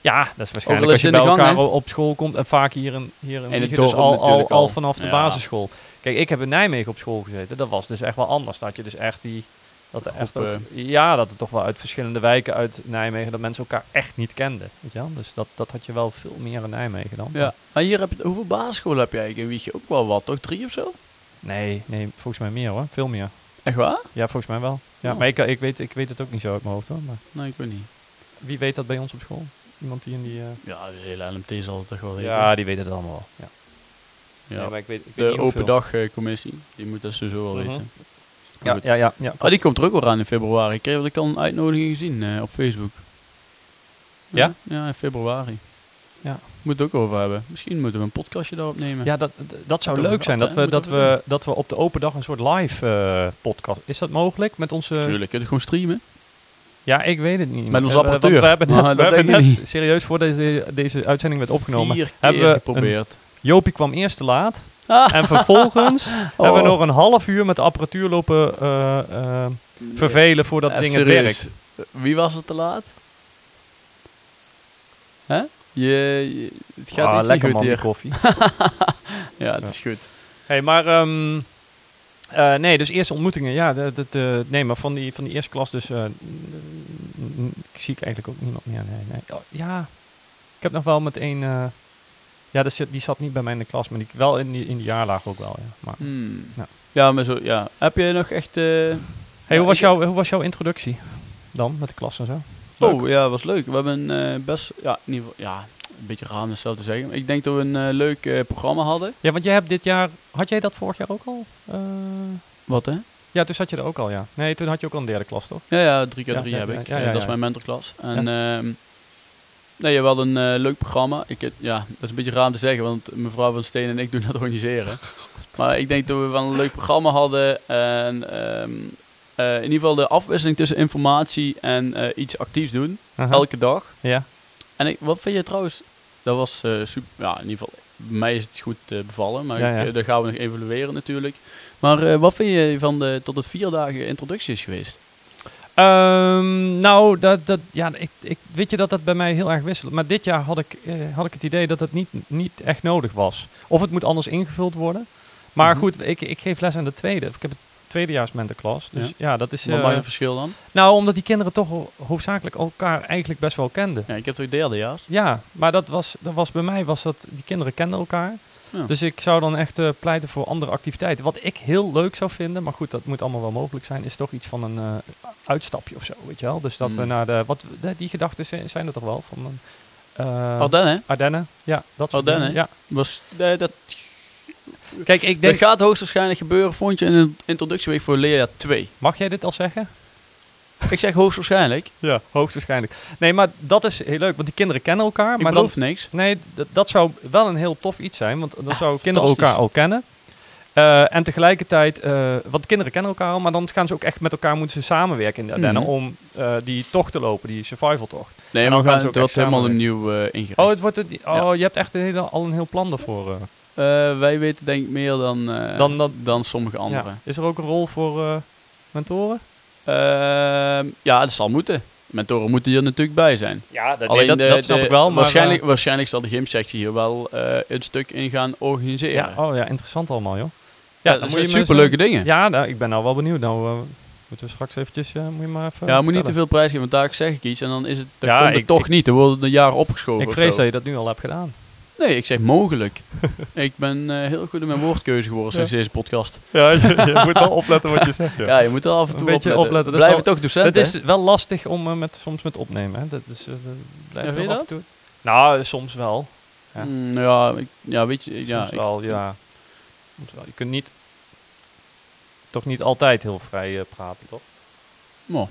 Speaker 2: Ja, dat is waarschijnlijk
Speaker 1: al
Speaker 2: als
Speaker 1: is
Speaker 2: je
Speaker 1: het
Speaker 2: bij
Speaker 1: in de gang,
Speaker 2: elkaar op school komt en vaak hier in, hier in,
Speaker 1: het
Speaker 2: Wijchen,
Speaker 1: dorp
Speaker 2: dus al, al,
Speaker 1: natuurlijk
Speaker 2: al
Speaker 1: al.
Speaker 2: vanaf de
Speaker 1: Ja.
Speaker 2: basisschool. Kijk, ik heb in Nijmegen op school gezeten. Dat was dus echt wel anders. Dat je dus echt die... Dat er echt ook,
Speaker 1: Groepen.
Speaker 2: ja, dat het toch wel uit verschillende wijken uit Nijmegen... dat mensen elkaar echt niet kenden. Weet je wel? Dus dat, dat had je wel veel meer in Nijmegen dan.
Speaker 1: Ja. Maar hier heb je, hoeveel basisscholen heb je eigenlijk in Wiegje? Ook wel wat, toch? Drie of zo?
Speaker 2: Nee, nee, volgens mij meer hoor. Veel meer.
Speaker 1: Echt waar?
Speaker 2: Ja, volgens mij wel. Ja,
Speaker 1: Oh.
Speaker 2: maar ik, ik, weet, ik weet het ook niet zo uit mijn hoofd hoor. Maar
Speaker 1: Nee, ik weet niet.
Speaker 2: wie weet dat bij ons op school? Iemand die in die... eh,
Speaker 1: Ja, de hele LMT zal het toch wel weten.
Speaker 2: ja, die weet het allemaal wel. Ja.
Speaker 1: Ja.
Speaker 2: Nee, maar ik weet, ik weet niet
Speaker 1: De
Speaker 2: hoeveel.
Speaker 1: open dagcommissie, die moet dat sowieso wel
Speaker 2: Mhm.
Speaker 1: weten.
Speaker 2: Ja, ja, ja, ja.
Speaker 1: Oh, die komt er ook wel aan in februari. Ik kreeg wel ik al een uitnodiging gezien eh, op Facebook.
Speaker 2: Ja?
Speaker 1: Ja, in februari.
Speaker 2: Ja.
Speaker 1: Moet het ook over hebben. Misschien moeten we een podcastje daarop nemen.
Speaker 2: Ja, dat, d- dat zou
Speaker 1: Moeten we
Speaker 2: leuk zijn. Dat
Speaker 1: dat, hè?
Speaker 2: we, dat,
Speaker 1: Moeten we
Speaker 2: we, dat we op de open dag een soort live eh, podcast. Is dat mogelijk met onze.
Speaker 1: Tuurlijk, kun je het gewoon streamen.
Speaker 2: Ja, ik weet het niet.
Speaker 1: Met onze
Speaker 2: Eh, want
Speaker 1: apparatuur.
Speaker 2: We hebben
Speaker 1: Maar Nou,
Speaker 2: net,
Speaker 1: dat
Speaker 2: we hebben
Speaker 1: denk ik
Speaker 2: net serieus voor deze, deze uitzending werd opgenomen.
Speaker 1: Vier keer
Speaker 2: hebben we een-
Speaker 1: geprobeerd.
Speaker 2: Jopie kwam eerst te laat.
Speaker 1: Ah. Oh.
Speaker 2: En vervolgens hebben we nog een half uur met de apparatuur lopen eh, eh, vervelen voordat
Speaker 1: Even
Speaker 2: ding het
Speaker 1: serieus.
Speaker 2: werkt.
Speaker 1: Wie was er te laat? Hè? Je, je- het gaat
Speaker 2: Ah,
Speaker 1: iets niet
Speaker 2: lekker
Speaker 1: goed
Speaker 2: man, die
Speaker 1: hier.
Speaker 2: koffie.
Speaker 1: Ja, het
Speaker 2: Ja.
Speaker 1: is goed.
Speaker 2: hey, maar ehm, eh, nee, dus eerste ontmoetingen. Ja, dat, dat, eh, nee, maar van die, van die eerste klas dus eh, n- n- n- zie ik eigenlijk ook niemand meer. Nee, nee. Oh, ja, ik heb nog wel met één... eh, ja, dat zit- die zat niet bij mij in de klas, maar die, wel in die, in die jaarlaag ook wel. Ja. Maar,
Speaker 1: Hmm.
Speaker 2: Ja.
Speaker 1: Ja. maar zo, ja. Heb je nog echt... eh,
Speaker 2: hey,
Speaker 1: Ja,
Speaker 2: hoe, was
Speaker 1: ik-
Speaker 2: jouw, hoe was jouw introductie dan met de klas en zo? Leuk.
Speaker 1: Oh ja, was leuk. We hebben eh, best, ja, in ieder geval, ja, een beetje raar om dat zelf te zeggen. Maar ik denk dat we een eh, leuk eh, programma hadden.
Speaker 2: Ja, want jij hebt dit jaar... Had jij dat vorig jaar ook al? Eh,
Speaker 1: Wat hè?
Speaker 2: ja, toen zat je er ook al, ja. Nee, toen had je ook al een derde klas, toch?
Speaker 1: Ja, ja, 3 keer
Speaker 2: Ja,
Speaker 1: 3
Speaker 2: ja,
Speaker 1: heb
Speaker 2: ja,
Speaker 1: ik.
Speaker 2: ja,
Speaker 1: Eh,
Speaker 2: ja,
Speaker 1: dat
Speaker 2: ja.
Speaker 1: is mijn mentorklas. En ehm nee, ja, we hadden een eh, leuk programma. Ik, het- ja, dat is een beetje raar om te zeggen, want mevrouw van Steen en ik doen dat organiseren. maar ik denk dat we wel een leuk programma hadden. En ehm, eh, in ieder geval de afwisseling tussen informatie en eh, iets actiefs doen.
Speaker 2: Aha.
Speaker 1: Elke dag.
Speaker 2: Ja.
Speaker 1: En ik, wat vind je trouwens? Dat was eh, super. Ja, in ieder geval, bij mij is het goed eh, bevallen, maar
Speaker 2: Ja,
Speaker 1: ik,
Speaker 2: ja.
Speaker 1: eh, dat gaan we nog evalueren natuurlijk. Maar eh, wat vind je van de tot het vier dagen introductie is geweest?
Speaker 2: Ehm, nou, dat, dat, ja, ik, ik, weet je dat dat bij mij heel erg wisselt. Maar dit jaar had ik, eh, had ik het idee dat het niet, niet echt nodig was. Of het moet anders ingevuld worden. Maar
Speaker 1: Mhm.
Speaker 2: goed, ik, ik geef les aan de tweede. Ik heb het tweedejaars mentorklas. Dus ja,
Speaker 1: Ja.
Speaker 2: dat is...
Speaker 1: Wat
Speaker 2: eh,
Speaker 1: maakt het verschil dan?
Speaker 2: nou, omdat die kinderen toch ho- hoofdzakelijk elkaar eigenlijk best wel kenden.
Speaker 1: Ja, ik heb toch derdejaars?
Speaker 2: Ja, maar dat was, dat was bij mij was dat die kinderen kenden elkaar.
Speaker 1: Ja.
Speaker 2: Dus ik zou dan echt eh, pleiten voor andere activiteiten. Wat ik heel leuk zou vinden, maar goed, dat moet allemaal wel mogelijk zijn, is toch iets van een eh, uitstapje of zo, weet je wel? Dus dat we
Speaker 1: Mm.
Speaker 2: naar de wat de- die gedachten zi- zijn er toch wel van een, eh,
Speaker 1: Ardennen,
Speaker 2: Ardennen, ja, dat soort
Speaker 1: Ardennen?
Speaker 2: dingen,
Speaker 1: hè? Oh, Was, nee, dat,
Speaker 2: Ja, kijk, ik
Speaker 1: dat
Speaker 2: denk,
Speaker 1: gaat hoogstwaarschijnlijk gebeuren, vond je in een introductieweek voor leerjaar 2.
Speaker 2: mag jij dit al zeggen?
Speaker 1: ik zeg hoogstwaarschijnlijk, ik
Speaker 2: Ja, hoogstwaarschijnlijk. Nee, maar dat is heel leuk, want die kinderen kennen elkaar, maar
Speaker 1: maar
Speaker 2: dan
Speaker 1: beloof niks.
Speaker 2: Nee, d- dat zou wel een heel tof iets zijn, want dan
Speaker 1: Ja,
Speaker 2: zouden kinderen elkaar al kennen. Eh, en tegelijkertijd, eh, want kinderen kennen elkaar al, maar dan gaan ze ook echt met elkaar moeten ze samenwerken in de Ardennen
Speaker 1: Mhm.
Speaker 2: om eh, die tocht te lopen, die survival tocht.
Speaker 1: Nee, maar we
Speaker 2: En dan gaan
Speaker 1: gaan, het
Speaker 2: ze ook
Speaker 1: wordt
Speaker 2: echt
Speaker 1: helemaal opnieuw eh ingericht.
Speaker 2: Oh, het wordt het, oh
Speaker 1: Ja.
Speaker 2: je hebt echt een hele, al een heel plan daarvoor. eh.
Speaker 1: Eh, wij weten denk ik meer dan, eh,
Speaker 2: Dan-
Speaker 1: dan,
Speaker 2: dan-
Speaker 1: sommige
Speaker 2: Ja.
Speaker 1: anderen.
Speaker 2: Is er ook een rol voor eh, mentoren?
Speaker 1: Ja. Ehm, ja, dat zal moeten. Mentoren moeten hier natuurlijk bij zijn.
Speaker 2: Ja, dat,
Speaker 1: Alleen
Speaker 2: dat,
Speaker 1: de-
Speaker 2: snap
Speaker 1: de-
Speaker 2: ik wel. Maar, eh,
Speaker 1: waarschijnlijk, waarschijnlijk zal de gymsectie hier wel eh, een stuk in gaan organiseren.
Speaker 2: ja, oh ja, interessant allemaal, joh.
Speaker 1: Ja,
Speaker 2: dan
Speaker 1: dat
Speaker 2: moet je
Speaker 1: zijn
Speaker 2: me
Speaker 1: superleuke dingen. Ja,
Speaker 2: Ja, nou, ik ben nou wel benieuwd. Nou, eh, moeten we straks eventjes, eh, moet je maar even
Speaker 1: moet niet te
Speaker 2: vertellen.
Speaker 1: veel prijs geven, want daar zeg ik iets en dan is het, dan
Speaker 2: Ja,
Speaker 1: komt het
Speaker 2: ik-
Speaker 1: toch
Speaker 2: ik-
Speaker 1: niet. Dan worden een jaar opgeschoven
Speaker 2: Ik
Speaker 1: of
Speaker 2: vrees
Speaker 1: zo.
Speaker 2: dat je dat nu al hebt gedaan.
Speaker 1: Nee, ik zeg mogelijk. ik ben eh, heel goed in mijn woordkeuze geworden sinds deze podcast.
Speaker 2: Ja, je, moet wel opletten wat je zegt,
Speaker 1: Ja. je moet wel af en
Speaker 2: Een
Speaker 1: toe
Speaker 2: beetje opletten, dat is
Speaker 1: Blijf
Speaker 2: wel-
Speaker 1: toch
Speaker 2: Het
Speaker 1: docent,
Speaker 2: is
Speaker 1: hè?
Speaker 2: wel lastig om eh, met, soms met opnemen, hè. Dat is, eh, dat blijft
Speaker 1: Ja, vind je
Speaker 2: wel
Speaker 1: dat?
Speaker 2: af en toe. Nou, eh, soms wel. Ja.
Speaker 1: Mm, ja, ik- ja, weet je, ja,
Speaker 2: soms
Speaker 1: ik-
Speaker 2: wel, ja. Soms wel. Je kunt niet, toch niet altijd heel vrij eh, praten, toch?
Speaker 1: Nou,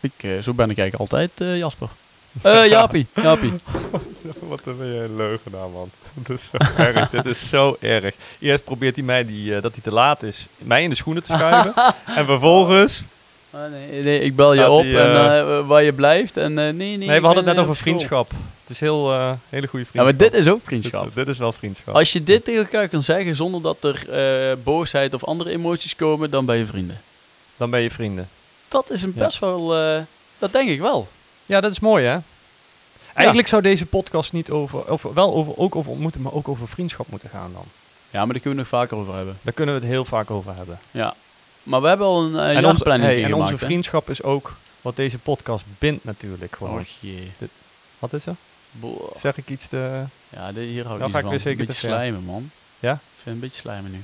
Speaker 1: ik, eh, zo ben ik eigenlijk altijd, eh, Jasper. Eh Jaapie, Jaapie.
Speaker 2: Wat ben je een leugenaar, man. Dat is zo erg. Dit is zo erg. Eerst probeert hij mij, die, eh, dat hij te laat is, mij in de schoenen te schuiven. en vervolgens...
Speaker 1: Ah, nee, nee, ik bel je
Speaker 2: Gaat
Speaker 1: op
Speaker 2: die,
Speaker 1: en
Speaker 2: eh,
Speaker 1: eh, waar je blijft. En, eh, nee, nee,
Speaker 2: Nee,
Speaker 1: ik
Speaker 2: we hadden
Speaker 1: ben,
Speaker 2: het net
Speaker 1: eh,
Speaker 2: over
Speaker 1: op school.
Speaker 2: vriendschap. Het is heel, eh, hele goede
Speaker 1: Ja, maar
Speaker 2: vriendschap.
Speaker 1: dit is ook
Speaker 2: Dit-
Speaker 1: vriendschap.
Speaker 2: Dit, is wel vriendschap.
Speaker 1: Als je dit tegen elkaar kan zeggen zonder dat er eh, boosheid of andere emoties komen, dan ben je vrienden.
Speaker 2: Dan ben je vrienden.
Speaker 1: Dat is een
Speaker 2: Ja.
Speaker 1: best wel, eh, dat denk ik wel.
Speaker 2: Ja, dat is mooi, hè? Eigenlijk zou deze podcast niet over, over wel over, ook over ontmoeten, maar ook over vriendschap moeten gaan dan.
Speaker 1: Ja, maar daar kunnen we nog vaker over hebben.
Speaker 2: Daar kunnen we het heel vaak over hebben.
Speaker 1: Ja. Maar we hebben al een eh,
Speaker 2: onze,
Speaker 1: jaarplanning
Speaker 2: hey, en
Speaker 1: gemaakt,
Speaker 2: onze
Speaker 1: hè?
Speaker 2: vriendschap is ook wat deze podcast bindt natuurlijk gewoon.
Speaker 1: Och jee.
Speaker 2: Wat is er?
Speaker 1: Boah.
Speaker 2: Zeg ik iets te...
Speaker 1: Ja, dit, hier hou ik
Speaker 2: Nou
Speaker 1: niet
Speaker 2: ga ik
Speaker 1: van.
Speaker 2: weer zeker
Speaker 1: een beetje
Speaker 2: te ver.
Speaker 1: slijmen, man.
Speaker 2: Ja?
Speaker 1: Ik vind het een beetje slijmen nu.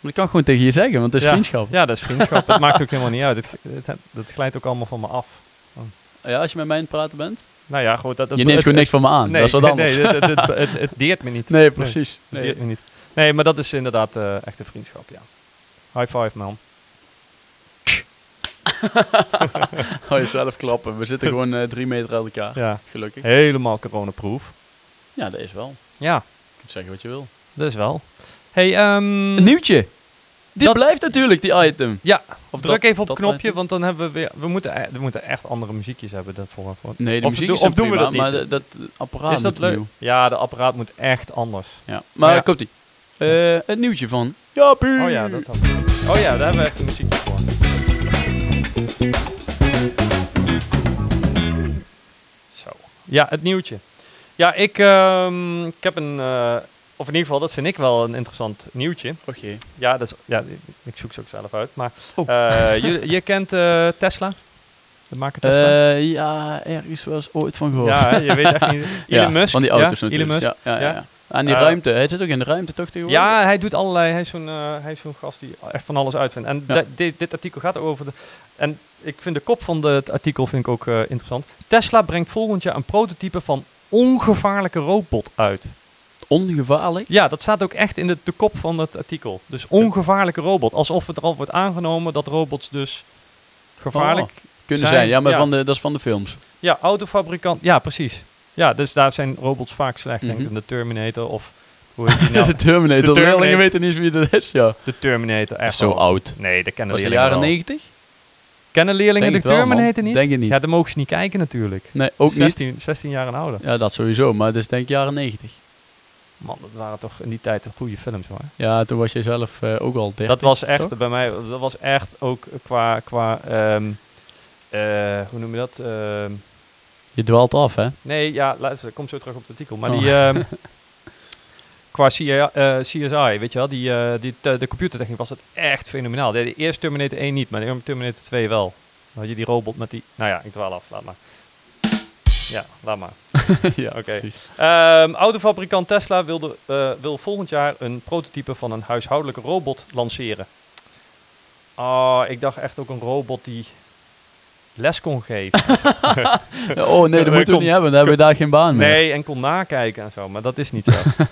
Speaker 1: Maar ik kan gewoon tegen je zeggen, want het is
Speaker 2: ja.
Speaker 1: vriendschap. Ja.
Speaker 2: Ja, dat is vriendschap. dat maakt ook helemaal niet uit. Het, het, dat glijdt ook allemaal van me af.
Speaker 1: als je met mij aan het praten bent.
Speaker 2: Nou ja, goed. Dat, dat-
Speaker 1: je neemt
Speaker 2: het-
Speaker 1: gewoon niks
Speaker 2: het-
Speaker 1: van me aan.
Speaker 2: nee,
Speaker 1: dat is wat anders.
Speaker 2: Nee, het, het, het, het, het deert me niet.
Speaker 1: Nee, precies.
Speaker 2: Nee.
Speaker 1: Nee.
Speaker 2: niet. Nee, maar dat is inderdaad eh echt een vriendschap, ja. High five, man.
Speaker 1: Hou jezelf Oh, klappen. We zitten gewoon eh, drie meter uit elkaar.
Speaker 2: Ja.
Speaker 1: Gelukkig.
Speaker 2: Helemaal coronaproof.
Speaker 1: Ja, dat is wel.
Speaker 2: Ja,
Speaker 1: Je kunt zeggen wat je wil.
Speaker 2: dat is wel. Hey, ehm
Speaker 1: Een nieuwtje. Dit
Speaker 2: Dat-
Speaker 1: blijft natuurlijk, die item.
Speaker 2: ja,
Speaker 1: Of
Speaker 2: druk
Speaker 1: dat-
Speaker 2: even op
Speaker 1: dat
Speaker 2: het knopje,
Speaker 1: blijft-
Speaker 2: want dan hebben we weer... We moeten, e- we moeten echt andere muziekjes hebben. Dat voor, voor.
Speaker 1: Nee, de
Speaker 2: Of
Speaker 1: muziek
Speaker 2: doe-
Speaker 1: is dan
Speaker 2: of doen we
Speaker 1: prima,
Speaker 2: dat
Speaker 1: Maar dat,
Speaker 2: niet?
Speaker 1: dat apparaat
Speaker 2: is dat
Speaker 1: moet
Speaker 2: leuk?
Speaker 1: nieuw.
Speaker 2: Ja, de apparaat moet echt anders.
Speaker 1: Ja.
Speaker 2: Maar
Speaker 1: Maar
Speaker 2: ja.
Speaker 1: komt ie. Eh, het nieuwtje van... Jaapie!
Speaker 2: Oh ja, dat had ik. Oh ja, daar hebben we echt een muziekje voor. Zo. Ja, het nieuwtje. Ja, ik, ehm, ik heb een... eh, of in ieder geval, dat vind ik wel een interessant nieuwtje.
Speaker 1: Och jee.
Speaker 2: Ja, dat is, ja ik zoek ze ook zelf uit. Maar
Speaker 1: Oh.
Speaker 2: eh, je, je kent eh, Tesla? De maker Tesla?
Speaker 1: Eh, ja, ergens was ooit van gehoord.
Speaker 2: ja, hè, je weet echt niet. Elon
Speaker 1: Ja,
Speaker 2: Musk.
Speaker 1: Van die
Speaker 2: ja,
Speaker 1: auto's
Speaker 2: Elon
Speaker 1: natuurlijk.
Speaker 2: Musk.
Speaker 1: Ja, ja, ja.
Speaker 2: Ja.
Speaker 1: En die
Speaker 2: Eh,
Speaker 1: ruimte. Hij zit ook in de ruimte, toch? Tegenwoordig?
Speaker 2: Ja, hij doet allerlei. Hij is zo'n eh, hij is zo'n gast die echt van alles uitvindt. En
Speaker 1: Ja.
Speaker 2: di- dit- dit artikel gaat over de. En ik vind de kop van de- het artikel vind ik ook eh, interessant. Tesla brengt volgend jaar een prototype van ongevaarlijke robot uit.
Speaker 1: Ongevaarlijk.
Speaker 2: Ja, dat staat ook echt in de, de kop van het artikel. Dus ongevaarlijke robot. Alsof het er al wordt aangenomen dat robots dus gevaarlijk.
Speaker 1: Oh. Kunnen
Speaker 2: Zijn,
Speaker 1: zijn. Ja, maar
Speaker 2: ja.
Speaker 1: Van de, dat is van de films.
Speaker 2: Ja, autofabrikant. Ja, precies. Ja, dus daar zijn robots vaak slecht. Denk
Speaker 1: Mhm.
Speaker 2: aan de Terminator of hoe heet die nou?
Speaker 1: de Terminator.
Speaker 2: De
Speaker 1: De
Speaker 2: Terminator.
Speaker 1: leerlingen weten niet wie dat is, ja.
Speaker 2: de Terminator. Echt
Speaker 1: Echt zo
Speaker 2: wel.
Speaker 1: oud.
Speaker 2: Nee, dat kennen
Speaker 1: Was de
Speaker 2: leerlingen
Speaker 1: jaren
Speaker 2: wel.
Speaker 1: negentig?
Speaker 2: Kennen leerlingen de Terminator niet?
Speaker 1: Denk je niet.
Speaker 2: Ja, dan mogen ze niet kijken natuurlijk.
Speaker 1: nee, ook
Speaker 2: 16, 16 jaar en ouder.
Speaker 1: niet. Ja, dat sowieso. Maar het is denk ik jaren negentig.
Speaker 2: Man, dat waren toch in die tijd de goede films hoor.
Speaker 1: Ja, toen was jij zelf eh, ook al 30.
Speaker 2: Dat was echt
Speaker 1: toch?
Speaker 2: bij mij, dat was echt ook qua, qua ehm, eh, hoe noem je dat? Ehm,
Speaker 1: Je dwaalt af, hè?
Speaker 2: nee, ja, luister, ik kom zo terug op het artikel. Maar
Speaker 1: Oh.
Speaker 2: die, ehm, qua CSI, eh, CSI, weet je wel, die, eh, die, te- de computertechniek was dat echt fenomenaal. De, de eerste Terminator 1 niet, maar de Terminator 2 wel. Dan had je die robot met die, nou ja, ik dwaal af, laat maar. Ja, laat maar.
Speaker 1: ja,
Speaker 2: oké.
Speaker 1: precies.
Speaker 2: Ehm autofabrikant Tesla wilde, eh, wil volgend jaar een prototype van een huishoudelijke robot lanceren. Ah, ik dacht echt ook een robot die les kon geven.
Speaker 1: Ja, Oh nee, dat moeten
Speaker 2: Kom.
Speaker 1: we niet hebben. Dan hebben we daar geen baan mee.
Speaker 2: Nee, en kon nakijken en zo, maar dat is niet zo.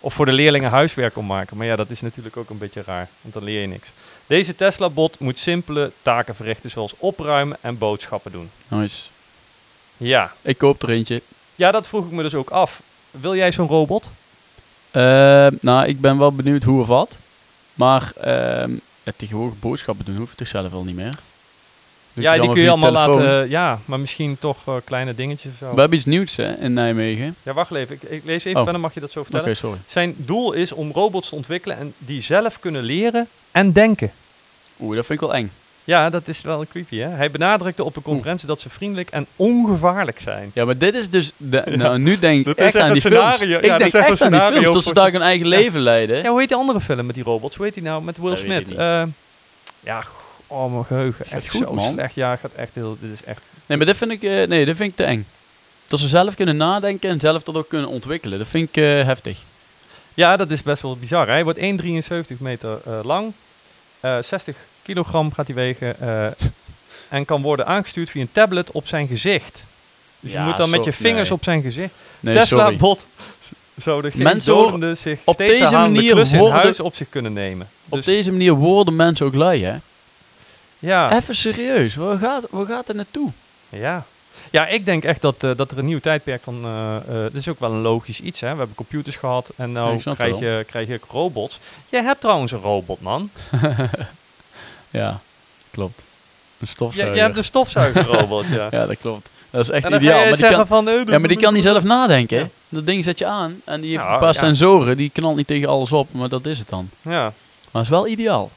Speaker 2: of voor de leerlingen huiswerk kon maken. Maar ja, dat is natuurlijk ook een beetje raar, want dan leer je niks. Deze Tesla-bot moet simpele taken verrichten, zoals opruimen en boodschappen doen.
Speaker 1: Nice.
Speaker 2: Ja,
Speaker 1: Ik koop er eentje.
Speaker 2: ja dat vroeg ik me dus ook af. Wil jij zo'n robot?
Speaker 1: Eh, nou, ik ben wel benieuwd hoe of wat. Maar ehm het tegenwoordig boodschappen doen hoef ik toch zelf wel niet meer. Doe ik
Speaker 2: Ja,
Speaker 1: het
Speaker 2: die kun je
Speaker 1: via
Speaker 2: allemaal
Speaker 1: telefoon.
Speaker 2: laten... eh, ja, maar misschien toch eh, kleine dingetjes of zo.
Speaker 1: We hebben iets nieuws hè, in Nijmegen.
Speaker 2: Ja, wacht even. Ik, ik lees even
Speaker 1: Oh.
Speaker 2: verder, mag je dat zo
Speaker 1: Oké,
Speaker 2: vertellen?
Speaker 1: sorry.
Speaker 2: Zijn doel is om robots te ontwikkelen en die zelf kunnen leren en denken.
Speaker 1: Oeh, dat vind ik wel eng.
Speaker 2: Ja, dat is wel creepy, hè? Hij benadrukte op een conferentie dat ze vriendelijk en ongevaarlijk zijn.
Speaker 1: Ja, maar dit is dus... de- nou, nu denk ik
Speaker 2: Dat
Speaker 1: echt
Speaker 2: is echt
Speaker 1: aan
Speaker 2: een
Speaker 1: die films.
Speaker 2: scenario.
Speaker 1: Ik
Speaker 2: Ja, dat
Speaker 1: denk
Speaker 2: is echt
Speaker 1: echt
Speaker 2: een
Speaker 1: aan die
Speaker 2: scenario
Speaker 1: films. Dat ze
Speaker 2: voor-
Speaker 1: daar hun eigen leven leiden.
Speaker 2: Ja, hoe heet die andere film met die robots? Hoe heet die nou? Met Will
Speaker 1: Dat weet ik
Speaker 2: Smith.
Speaker 1: niet.
Speaker 2: Eh, ja, oh, mijn geheugen.
Speaker 1: Gaat
Speaker 2: Echt
Speaker 1: goed,
Speaker 2: zo
Speaker 1: man.
Speaker 2: slecht. Ja, gaat echt heel... Dit is echt...
Speaker 1: Nee, maar dit vind ik, eh, nee, dit vind ik te eng. Dat ze zelf kunnen nadenken en zelf dat ook kunnen ontwikkelen. Dat vind ik eh, heftig.
Speaker 2: Ja, dat is best wel bizar. hè. Hij wordt 1,73 meter eh, lang. Eh, 60 kilogram gaat hij wegen. eh, en kan worden aangestuurd via een tablet op zijn gezicht. Dus
Speaker 1: Ja,
Speaker 2: je moet dan met
Speaker 1: zo-
Speaker 2: je vingers
Speaker 1: nee.
Speaker 2: op zijn gezicht.
Speaker 1: Nee, sorry.
Speaker 2: Tesla-bot. Zo de
Speaker 1: Mensen
Speaker 2: mensen
Speaker 1: horen-
Speaker 2: zich
Speaker 1: op
Speaker 2: steeds
Speaker 1: deze
Speaker 2: herhalende
Speaker 1: manier
Speaker 2: klussen in
Speaker 1: worden-
Speaker 2: huis op zich kunnen nemen.
Speaker 1: Op
Speaker 2: Dus,
Speaker 1: deze manier worden mensen ook lui, hè?
Speaker 2: ja,
Speaker 1: Even serieus, waar gaat, waar gaat het naartoe?
Speaker 2: ja. ja, ik denk echt dat, eh, dat er een nieuw tijdperk van... eh eh, dit is ook wel een logisch iets, hè. We hebben computers gehad en
Speaker 1: Ja,
Speaker 2: nou
Speaker 1: ik snap
Speaker 2: krijg,
Speaker 1: het
Speaker 2: je, krijg je robots. Jij hebt trouwens een robot, man.
Speaker 1: Ja, klopt. Een
Speaker 2: Je,
Speaker 1: stofzuiger.
Speaker 2: je hebt een stofzuigerrobot, ja.
Speaker 1: Ja, dat klopt. Dat is echt
Speaker 2: En dan
Speaker 1: ideaal.
Speaker 2: ga je
Speaker 1: Maar die,
Speaker 2: zeggen
Speaker 1: kan,
Speaker 2: van... eh,
Speaker 1: ja, maar die kan niet zelf nadenken. hè?
Speaker 2: Ja.
Speaker 1: Dat ding zet je aan en die heeft
Speaker 2: Ja,
Speaker 1: een paar
Speaker 2: ja.
Speaker 1: sensoren. Die knalt niet tegen alles op, maar dat is het dan.
Speaker 2: Ja.
Speaker 1: Maar het is wel ideaal.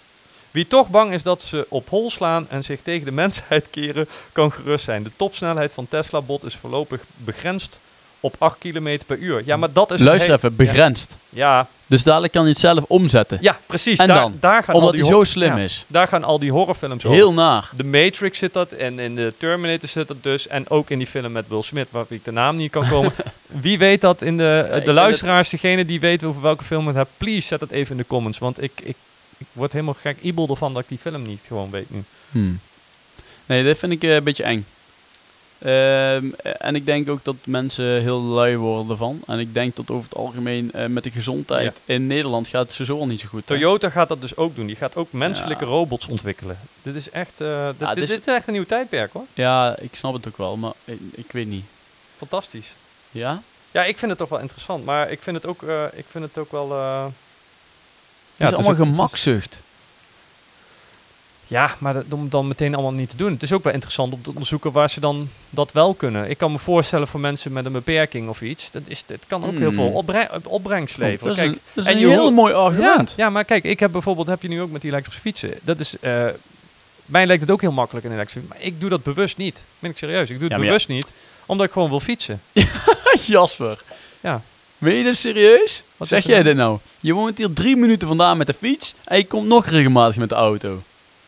Speaker 2: Wie toch bang is dat ze op hol slaan en zich tegen de mensheid keren, kan gerust zijn. De topsnelheid van Tesla-bot is voorlopig begrensd op 8 km per uur. Ja, maar dat is...
Speaker 1: Luister
Speaker 2: hey-
Speaker 1: even, begrensd.
Speaker 2: Ja,
Speaker 1: Dus dadelijk kan hij het zelf omzetten.
Speaker 2: ja precies.
Speaker 1: En
Speaker 2: daar,
Speaker 1: dan?
Speaker 2: Daar gaan
Speaker 1: Omdat
Speaker 2: al die
Speaker 1: hij zo
Speaker 2: hor-
Speaker 1: slim
Speaker 2: ja,
Speaker 1: is.
Speaker 2: Daar gaan al die horrorfilms over.
Speaker 1: Heel naar.
Speaker 2: De Matrix zit dat en in de Terminator zit dat dus. En ook in die film met Will Smith, waar ik de naam niet kan komen. Wie weet dat in de,
Speaker 1: ik
Speaker 2: de
Speaker 1: vind
Speaker 2: luisteraars, degene die weten over welke film het hebt, please zet dat even in de comments. Want ik, ik, ik word helemaal gek ibel ervan dat ik die film niet gewoon weet nu.
Speaker 1: Hmm. Nee, dit vind ik eh, een beetje eng. Ehm, eh, en ik denk ook dat mensen heel lui worden ervan. En ik denk dat over het algemeen eh, met de gezondheid in Nederland gaat het sowieso al niet zo goed. hè?
Speaker 2: Toyota gaat dat dus ook doen. Die gaat ook menselijke
Speaker 1: Ja.
Speaker 2: robots ontwikkelen. Dit is echt, eh, dit,
Speaker 1: Ja,
Speaker 2: dit-
Speaker 1: dit is-
Speaker 2: dit is echt een nieuw tijdperk hoor.
Speaker 1: Ja, ik snap het ook wel, maar ik, ik weet niet.
Speaker 2: Fantastisch.
Speaker 1: Ja?
Speaker 2: Ja, ik vind het toch wel interessant. Maar ik vind het ook, eh, ik vind het ook wel... eh, ja,
Speaker 1: Het is
Speaker 2: ook-
Speaker 1: allemaal gemakzucht.
Speaker 2: Ja, maar dat, om dan meteen allemaal niet te doen. Het is ook wel interessant om te onderzoeken waar ze dan dat wel kunnen. Ik kan me voorstellen voor mensen met een beperking of iets. Dat, is, dat kan ook heel
Speaker 1: Hmm.
Speaker 2: veel opbre- opbrengst
Speaker 1: Oh,
Speaker 2: leveren.
Speaker 1: dat is
Speaker 2: Kijk,
Speaker 1: een, dat is
Speaker 2: en
Speaker 1: een
Speaker 2: je
Speaker 1: heel
Speaker 2: hoort-
Speaker 1: mooi
Speaker 2: ja,
Speaker 1: argument.
Speaker 2: ja, maar kijk, ik heb bijvoorbeeld, heb je nu ook met die elektrische fietsen. Dat is, eh, mij lijkt het ook heel makkelijk een elektrische fiets. Maar ik doe dat bewust niet. Ben ik serieus. Ik
Speaker 1: Ja,
Speaker 2: doe het
Speaker 1: maar ja.
Speaker 2: bewust niet, omdat ik gewoon wil fietsen.
Speaker 1: Jasper,
Speaker 2: Ja.
Speaker 1: meen je dit serieus?
Speaker 2: Wat
Speaker 1: zeg
Speaker 2: is er
Speaker 1: jij
Speaker 2: dan?
Speaker 1: dit nou? Je woont hier drie minuten vandaan met de fiets en je komt nog regelmatig met de auto.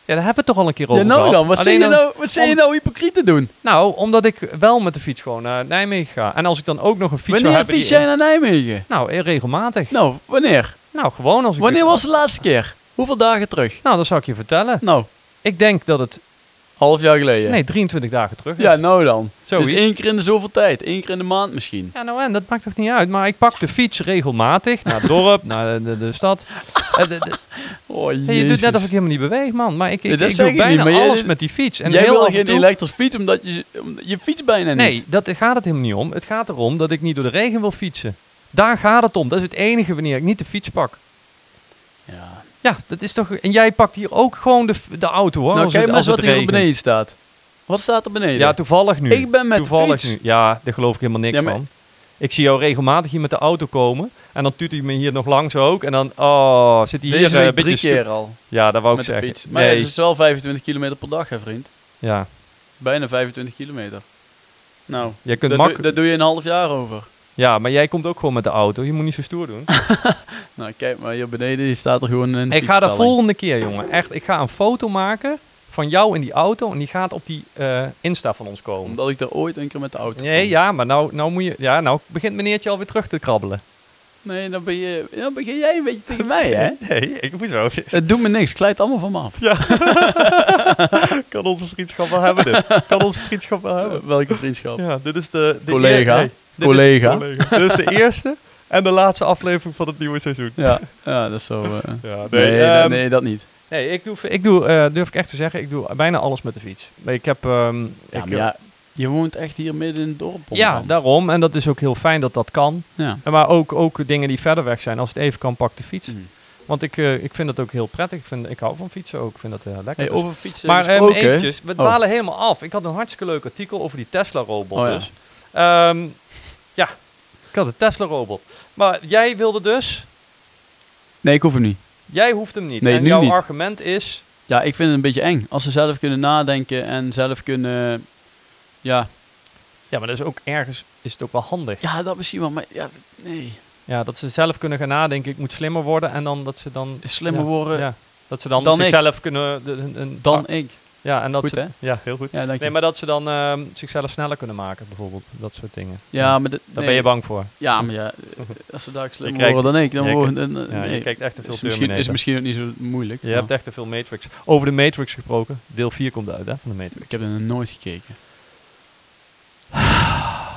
Speaker 2: Ja, daar hebben we het toch al een keer
Speaker 1: Ja,
Speaker 2: over
Speaker 1: nou
Speaker 2: gehad.
Speaker 1: dan, wat
Speaker 2: Alleen
Speaker 1: zijn je
Speaker 2: dan-
Speaker 1: nou, wat zijn je
Speaker 2: om-
Speaker 1: nou hypocriet te doen?
Speaker 2: Nou, omdat ik wel met de fiets gewoon naar Nijmegen ga. En als ik dan ook nog een fiets zou
Speaker 1: Wanneer
Speaker 2: hebben...
Speaker 1: fiets
Speaker 2: die-
Speaker 1: jij naar Nijmegen?
Speaker 2: Nou, eh, regelmatig.
Speaker 1: Nou, wanneer?
Speaker 2: Nou, gewoon als ik...
Speaker 1: Wanneer was de laatste keer? Hoeveel dagen terug?
Speaker 2: Nou, dat zal ik je vertellen.
Speaker 1: Nou,
Speaker 2: Ik denk dat het...
Speaker 1: half jaar geleden.
Speaker 2: Nee, 23 dagen terug is.
Speaker 1: ja, nou dan.
Speaker 2: Zoiets.
Speaker 1: Dus één keer in de zoveel tijd. één keer in de maand misschien.
Speaker 2: Ja, nou en, dat maakt toch niet uit. Maar ik pak de fiets regelmatig naar het dorp, naar de, de, de stad. Eh, de- de-
Speaker 1: Oh,
Speaker 2: hey, je doet net alsof ik helemaal niet beweeg, man. Maar ik, ik,
Speaker 1: Nee, dat
Speaker 2: ik
Speaker 1: zeg
Speaker 2: doe
Speaker 1: ik niet,
Speaker 2: bijna
Speaker 1: maar jij
Speaker 2: alles
Speaker 1: doet-
Speaker 2: met die fiets. En
Speaker 1: Jij
Speaker 2: heel
Speaker 1: wil
Speaker 2: af en
Speaker 1: geen
Speaker 2: toe-
Speaker 1: elektrische fiets omdat je, omdat je fiets bijna
Speaker 2: Nee,
Speaker 1: niet.
Speaker 2: dat gaat het helemaal niet om. Het gaat erom dat ik niet door de regen wil fietsen. Daar gaat het om. Dat is het enige wanneer ik niet de fiets pak.
Speaker 1: Ja.
Speaker 2: Ja, dat is toch... En jij pakt hier ook gewoon de, f- de auto, hoor.
Speaker 1: Nou,
Speaker 2: als
Speaker 1: kijk
Speaker 2: het-
Speaker 1: maar eens
Speaker 2: als
Speaker 1: wat
Speaker 2: het
Speaker 1: hier op
Speaker 2: regent.
Speaker 1: beneden staat. Wat staat er beneden?
Speaker 2: Ja, toevallig nu.
Speaker 1: Ik ben met de
Speaker 2: toevallig
Speaker 1: fiets.
Speaker 2: nu. Ja, daar geloof ik helemaal niks
Speaker 1: Ja, maar-
Speaker 2: van. Ik zie jou regelmatig hier met de auto komen. En dan tuut hij me hier nog langs ook. En dan, oh, zit hij hier
Speaker 1: Deze
Speaker 2: eh,
Speaker 1: week
Speaker 2: een beetje
Speaker 1: drie
Speaker 2: stu-
Speaker 1: keer al
Speaker 2: Ja, dat wou ik
Speaker 1: met de
Speaker 2: zeggen.
Speaker 1: fiets. Maar
Speaker 2: nee.
Speaker 1: ja, het is wel 25 kilometer per dag, hè vriend.
Speaker 2: ja,
Speaker 1: Bijna 25 kilometer. Nou,
Speaker 2: jij kunt
Speaker 1: dat,
Speaker 2: mak-
Speaker 1: doe, dat doe je een half jaar over.
Speaker 2: ja, maar jij komt ook gewoon met de auto. Je moet niet zo stoer doen.
Speaker 1: Nou, kijk maar, hier beneden die staat er gewoon een
Speaker 2: ik ga de
Speaker 1: fietsstelling.
Speaker 2: volgende keer, jongen. Echt, ik ga een foto maken van jou in die auto. En die gaat op die eh, Insta van ons komen.
Speaker 1: Omdat ik er ooit een keer met de auto
Speaker 2: Nee,
Speaker 1: kom.
Speaker 2: ja, maar nou, nou moet je... Ja, nou begint meneertje alweer terug te krabbelen.
Speaker 1: Nee, dan, ben je, dan begin jij een beetje tegen mij, hè?
Speaker 2: Nee, ik moet zo...
Speaker 1: Het doet me niks, het glijdt allemaal van me af.
Speaker 2: Kan onze vriendschap wel hebben dit. Kan onze vriendschap wel hebben.
Speaker 1: Welke vriendschap?
Speaker 2: Ja, dit is de... de
Speaker 1: Collega.
Speaker 2: eer- nee, dit is-
Speaker 1: Collega.
Speaker 2: collega. Dit is de eerste en de laatste aflevering van het nieuwe seizoen.
Speaker 1: Ja, ja dat is zo... eh,
Speaker 2: Ja,
Speaker 1: nee,
Speaker 2: nee,
Speaker 1: dat,
Speaker 2: ehm,
Speaker 1: nee, dat niet.
Speaker 2: nee, ik doe, ik doe eh, durf ik echt te zeggen, ik doe bijna alles met de fiets. Ik heb... ehm,
Speaker 1: Ja,
Speaker 2: ik,
Speaker 1: maar ja, Je woont echt hier midden in het dorp.
Speaker 2: Ja,
Speaker 1: onderhand.
Speaker 2: daarom. En dat is ook heel fijn dat dat kan.
Speaker 1: ja.
Speaker 2: En Maar ook, ook dingen die verder weg zijn. Als het even kan, pak de fiets.
Speaker 1: Mhm.
Speaker 2: Want ik, eh, ik vind dat ook heel prettig. Ik, vind, ik hou van fietsen ook. Ik vind dat heel lekker.
Speaker 1: Hey,
Speaker 2: Dus-
Speaker 1: over fietsen
Speaker 2: maar ehm,
Speaker 1: gesproken.
Speaker 2: eventjes, we
Speaker 1: Oh.
Speaker 2: dwalen helemaal af. Ik had een hartstikke leuk artikel over die Tesla-robot
Speaker 1: Oh ja.
Speaker 2: dus. Ehm, ja, ik had een Tesla-robot. Maar jij wilde dus,
Speaker 1: Nee, ik hoef hem niet.
Speaker 2: jij hoeft hem niet.
Speaker 1: Nee,
Speaker 2: en
Speaker 1: nu
Speaker 2: jouw
Speaker 1: niet.
Speaker 2: argument is,
Speaker 1: Ja, ik vind het een beetje eng. Als ze zelf kunnen nadenken en zelf kunnen... eh, Ja,
Speaker 2: ja, maar dat is ook ergens, is het ook wel handig.
Speaker 1: ja dat misschien wel, maar ja, nee.
Speaker 2: Ja, dat ze zelf kunnen gaan nadenken, ik moet slimmer worden. En dan dat ze dan...
Speaker 1: Slimmer
Speaker 2: ja,
Speaker 1: worden
Speaker 2: Ja, dat ze dan,
Speaker 1: dan ik.
Speaker 2: zichzelf kunnen... de- een- een-
Speaker 1: dan ik.
Speaker 2: ja, en dat
Speaker 1: Goed,
Speaker 2: ze,
Speaker 1: hè?
Speaker 2: Ja, heel goed.
Speaker 1: Ja, dank je.
Speaker 2: Nee, maar dat ze dan ehm, zichzelf sneller kunnen maken, bijvoorbeeld. Dat soort dingen.
Speaker 1: ja, maar... dit-
Speaker 2: Daar
Speaker 1: nee.
Speaker 2: ben je bang voor.
Speaker 1: Ja, maar ja, eh, als ze daar slimmer
Speaker 2: kijkt-
Speaker 1: worden dan ik, dan
Speaker 2: je
Speaker 1: worden... dan-
Speaker 2: Ja,
Speaker 1: nee.
Speaker 2: Je kijkt echt te veel
Speaker 1: is misschien, is
Speaker 2: Terminator.
Speaker 1: misschien ook niet zo moeilijk.
Speaker 2: Je
Speaker 1: maar-
Speaker 2: hebt echt te veel Matrix. Over de Matrix gesproken. Deel 4 komt uit, hè, van de Matrix.
Speaker 1: Ik heb er nog nooit gekeken.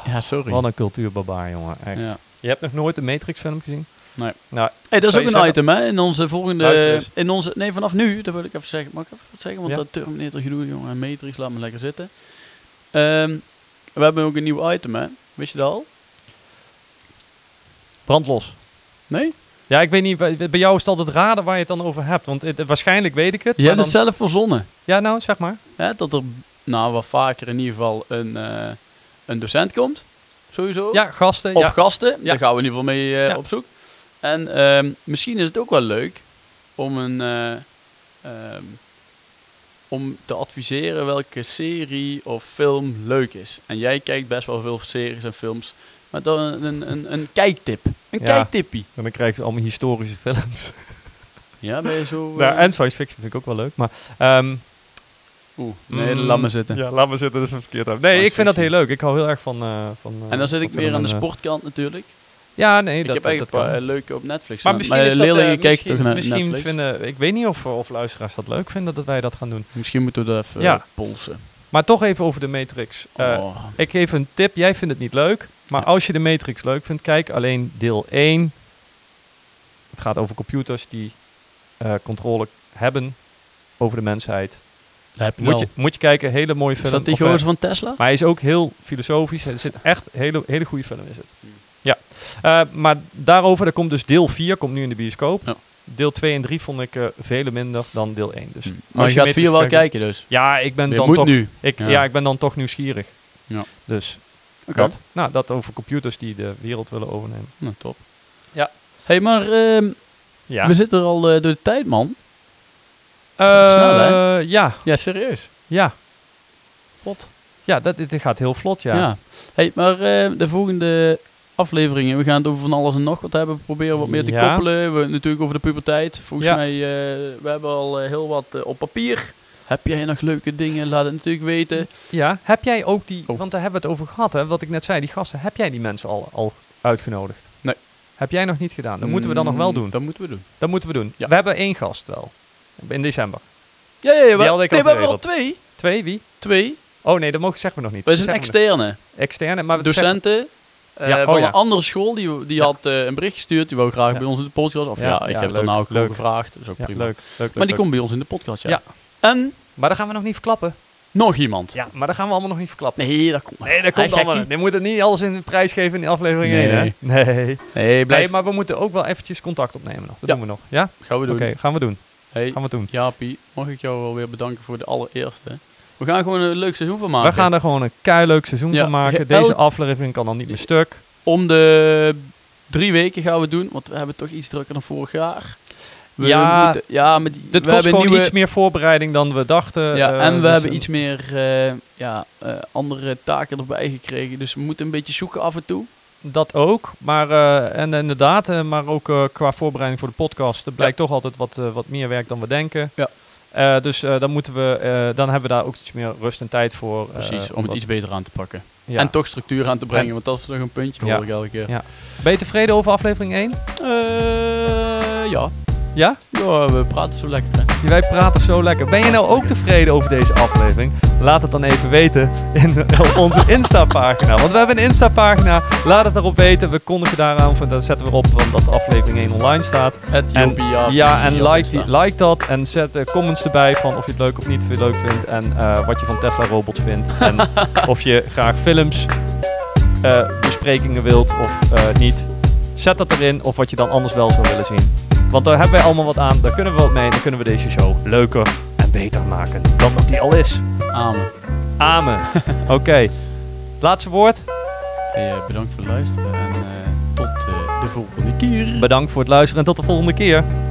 Speaker 1: Ja, sorry.
Speaker 2: Wat een cultuurbarbaar, jongen. Echt.
Speaker 1: Ja.
Speaker 2: Je hebt nog nooit de Matrix-film gezien?
Speaker 1: Nee.
Speaker 2: Nou,
Speaker 1: Hey, dat is
Speaker 2: Zou
Speaker 1: ook een
Speaker 2: je zeggen-
Speaker 1: item, hè? In onze volgende.
Speaker 2: Luister eens.
Speaker 1: In onze, nee, vanaf nu, dat wil ik even zeggen. Mag ik even wat zeggen? Want
Speaker 2: Ja.
Speaker 1: dat Terminator gedoe, jongen. En Matrix, laat me lekker zitten. Ehm, we hebben ook een nieuw item, hè? Wist je dat al?
Speaker 2: brandlos.
Speaker 1: Nee?
Speaker 2: Ja, ik weet niet, bij, bij jou is het altijd raden waar je het dan over hebt. Want het- waarschijnlijk weet ik het.
Speaker 1: Je
Speaker 2: maar
Speaker 1: hebt het
Speaker 2: dan-
Speaker 1: zelf verzonnen.
Speaker 2: ja, nou, zeg maar.
Speaker 1: Hè? Dat er, nou, wat vaker in ieder geval een, eh, een docent komt. Sowieso.
Speaker 2: Ja, gasten.
Speaker 1: Of
Speaker 2: ja.
Speaker 1: gasten, daar
Speaker 2: Ja.
Speaker 1: gaan we in ieder geval mee eh,
Speaker 2: Ja.
Speaker 1: op zoek. En ehm, misschien is het ook wel leuk om, een, eh, ehm, om te adviseren welke serie of film leuk is. En jij kijkt best wel veel series en films, maar dan een, een, een kijktip. Een
Speaker 2: Ja.
Speaker 1: kijktippie.
Speaker 2: En dan krijg je allemaal historische films.
Speaker 1: Ja, ben je zo... eh,
Speaker 2: nou, en science fiction vind ik ook wel leuk. Maar, ehm,
Speaker 1: Oeh, nee,
Speaker 2: mm,
Speaker 1: laat maar zitten.
Speaker 2: Ja, laat maar zitten, dat is een verkeerd. uit. Nee,
Speaker 1: Science
Speaker 2: ik vind dat heel
Speaker 1: fiction.
Speaker 2: leuk. Ik hou heel erg van... eh, van eh,
Speaker 1: En dan zit ik
Speaker 2: van
Speaker 1: meer aan de
Speaker 2: filmen. eh.
Speaker 1: sportkant natuurlijk.
Speaker 2: Ja, nee,
Speaker 1: ik
Speaker 2: dat,
Speaker 1: heb
Speaker 2: dat,
Speaker 1: eigenlijk
Speaker 2: dat
Speaker 1: een
Speaker 2: kan.
Speaker 1: paar leuke op Netflix
Speaker 2: Maar
Speaker 1: staan.
Speaker 2: misschien
Speaker 1: maar
Speaker 2: is dat,
Speaker 1: leerlingen
Speaker 2: eh,
Speaker 1: kijken
Speaker 2: misschien,
Speaker 1: toch naar
Speaker 2: misschien
Speaker 1: Netflix?
Speaker 2: vinden, ik weet niet of, of luisteraars dat leuk vinden dat wij dat gaan doen.
Speaker 1: Misschien moeten we dat even
Speaker 2: Ja.
Speaker 1: eh, polsen.
Speaker 2: Maar toch even over de Matrix. Eh,
Speaker 1: Oh.
Speaker 2: Ik geef een tip, jij vindt het niet leuk, maar als je de Matrix leuk vindt, kijk alleen deel 1. Het gaat over computers die eh, controle hebben over de mensheid. Moet je, moet je kijken, hele mooie film.
Speaker 1: Is dat die
Speaker 2: Of, eh,
Speaker 1: gozer van Tesla?
Speaker 2: Maar hij is ook heel filosofisch. Er zit echt hele, hele goede film is het.
Speaker 1: Hmm.
Speaker 2: Ja. Eh, maar daarover, daar komt dus deel 4, komt nu in de bioscoop.
Speaker 1: Ja.
Speaker 2: Deel 2 en 3 vond ik eh vele minder dan deel 1. Dus
Speaker 1: Hm.
Speaker 2: als
Speaker 1: Maar je gaat
Speaker 2: Matrix
Speaker 1: vier wel
Speaker 2: kijkt-
Speaker 1: kijken dus.
Speaker 2: Ja, ik ben
Speaker 1: Je
Speaker 2: dan
Speaker 1: moet
Speaker 2: toch...
Speaker 1: nu.
Speaker 2: Ik,
Speaker 1: Ja.
Speaker 2: ja. ik ben dan toch nieuwsgierig.
Speaker 1: Ja.
Speaker 2: Dus
Speaker 1: Oké.
Speaker 2: dat. Nou, dat over computers die de wereld willen overnemen.
Speaker 1: Nou, top.
Speaker 2: Ja.
Speaker 1: hey, maar ehm,
Speaker 2: Ja.
Speaker 1: we zitten er al eh, door de tijd, man.
Speaker 2: Eh,
Speaker 1: snel, hè?
Speaker 2: Ja,
Speaker 1: Ja, serieus.
Speaker 2: ja.
Speaker 1: Pot.
Speaker 2: Ja, dat, dit gaat heel vlot, ja.
Speaker 1: Ja. hey, maar eh, de volgende afleveringen, we gaan het over van alles en nog wat hebben. We proberen wat meer te
Speaker 2: Ja.
Speaker 1: koppelen. We, natuurlijk over de puberteit. Volgens
Speaker 2: Ja.
Speaker 1: mij, eh, we hebben al eh, heel wat eh, op papier. Heb jij nog leuke dingen? Laat het natuurlijk weten.
Speaker 2: Ja, heb jij ook die,
Speaker 1: Oh.
Speaker 2: want daar hebben we het over gehad, hè, wat ik net zei, die gasten, heb jij die mensen al, al uitgenodigd?
Speaker 1: Nee.
Speaker 2: Heb jij nog niet gedaan? Dat moeten we dan nog wel
Speaker 1: Mm,
Speaker 2: doen.
Speaker 1: Dat moeten we doen.
Speaker 2: Dat moeten we doen.
Speaker 1: Ja.
Speaker 2: We hebben één gast wel, in december.
Speaker 1: Ja, ja, ja. We,
Speaker 2: had ik
Speaker 1: nee,
Speaker 2: al
Speaker 1: we hebben er al
Speaker 2: geregeld.
Speaker 1: twee.
Speaker 2: Twee, wie?
Speaker 1: Twee.
Speaker 2: Oh nee, dat mogen zeggen we nog niet.
Speaker 1: We
Speaker 2: Dat
Speaker 1: zijn
Speaker 2: zeggen we
Speaker 1: externe.
Speaker 2: nog- externe. Maar we zeggen-
Speaker 1: docenten eh,
Speaker 2: Ja, oh
Speaker 1: van
Speaker 2: ja.
Speaker 1: een andere school, die, die
Speaker 2: Ja.
Speaker 1: had eh, een bericht gestuurd. Die wou graag
Speaker 2: Ja.
Speaker 1: bij ons in de podcast. Of ja,
Speaker 2: Ja,
Speaker 1: ik
Speaker 2: ja,
Speaker 1: heb het
Speaker 2: leuk,
Speaker 1: daarna ook al
Speaker 2: leuk.
Speaker 1: gevraagd. Dat is ook
Speaker 2: Ja,
Speaker 1: prima.
Speaker 2: leuk, leuk,
Speaker 1: maar
Speaker 2: leuk,
Speaker 1: die
Speaker 2: leuk.
Speaker 1: komt bij ons in de podcast, ja.
Speaker 2: Ja.
Speaker 1: En
Speaker 2: Maar dat gaan we nog niet verklappen.
Speaker 1: nog iemand.
Speaker 2: Ja, maar dat gaan we allemaal nog niet verklappen.
Speaker 1: Nee, dat komt maar.
Speaker 2: Nee, dat
Speaker 1: Hij
Speaker 2: komt allemaal.
Speaker 1: gekkie.
Speaker 2: Je moet het niet alles in de prijs geven in die aflevering
Speaker 1: Nee.
Speaker 2: 1, hè? Nee.
Speaker 1: Nee, blijf.
Speaker 2: Nee, maar we moeten ook wel eventjes contact opnemen nog. Dat
Speaker 1: Ja.
Speaker 2: doen we nog. Ja?
Speaker 1: Gaan we
Speaker 2: Oké,
Speaker 1: doen.
Speaker 2: gaan we doen.
Speaker 1: Hey,
Speaker 2: Gaan we doen.
Speaker 1: Jaapie, mag ik jou wel weer bedanken voor de allereerste. We gaan gewoon een leuk seizoen van maken.
Speaker 2: We gaan er gewoon een keileuk seizoen
Speaker 1: Ah, Ja,
Speaker 2: van maken.
Speaker 1: heel-
Speaker 2: Deze aflevering kan dan niet meer stuk.
Speaker 1: Om de drie weken gaan we het doen, want we hebben toch iets drukker dan vorig jaar. We
Speaker 2: Ja,
Speaker 1: moeten, ja, maar die-
Speaker 2: Dit
Speaker 1: we
Speaker 2: kost
Speaker 1: hebben
Speaker 2: gewoon
Speaker 1: nieuwe,
Speaker 2: iets meer voorbereiding dan we dachten.
Speaker 1: Ja,
Speaker 2: eh,
Speaker 1: en we
Speaker 2: dus
Speaker 1: hebben
Speaker 2: een-
Speaker 1: iets meer eh, ja, eh, andere taken erbij gekregen. Dus we moeten een beetje zoeken af en toe.
Speaker 2: Dat ook. Maar eh, en inderdaad, eh, maar ook eh, qua voorbereiding voor de podcast. Er blijkt toch altijd wat, eh, wat meer werk dan we denken.
Speaker 1: Ja.
Speaker 2: Eh, dus eh, dan, moeten we, eh, dan hebben we daar ook iets meer rust en tijd voor. eh,
Speaker 1: Precies, om het
Speaker 2: omdat-
Speaker 1: iets beter aan te pakken.
Speaker 2: ja.
Speaker 1: En toch structuur aan te brengen,
Speaker 2: En-
Speaker 1: want dat is nog een puntje
Speaker 2: Ja.
Speaker 1: hoor ik elke keer.
Speaker 2: Ja. Ben je tevreden over aflevering 1?
Speaker 1: Eh, ja.
Speaker 2: Ja?
Speaker 1: ja, we praten zo lekker. hè.
Speaker 2: Jeetje, wij praten zo lekker. Ben je nou ook tevreden over deze aflevering? Laat het dan even weten in, op onze Insta-pagina. Want we hebben een Insta-pagina. Laat het daarop weten. We kondigen daaraan, van, dat zetten we erop, want dat de aflevering 1 online staat. En, ja, en like, die, like dat en zet eh, comments erbij van of je het leuk of niet of je het leuk vindt. En eh, wat je van Tesla robots vindt. En of je graag films, eh, besprekingen wilt of eh, niet. Zet dat erin of wat je dan anders wel zou willen zien. Want daar hebben wij allemaal wat aan, daar kunnen we wat mee en dan kunnen we deze show leuker en beter maken dan dat die al is.
Speaker 1: Amen.
Speaker 2: Amen. Oké. Laatste woord.
Speaker 1: Hey, eh, bedankt voor het luisteren en eh, tot eh, de volgende keer.
Speaker 2: Bedankt voor het luisteren en tot de volgende keer.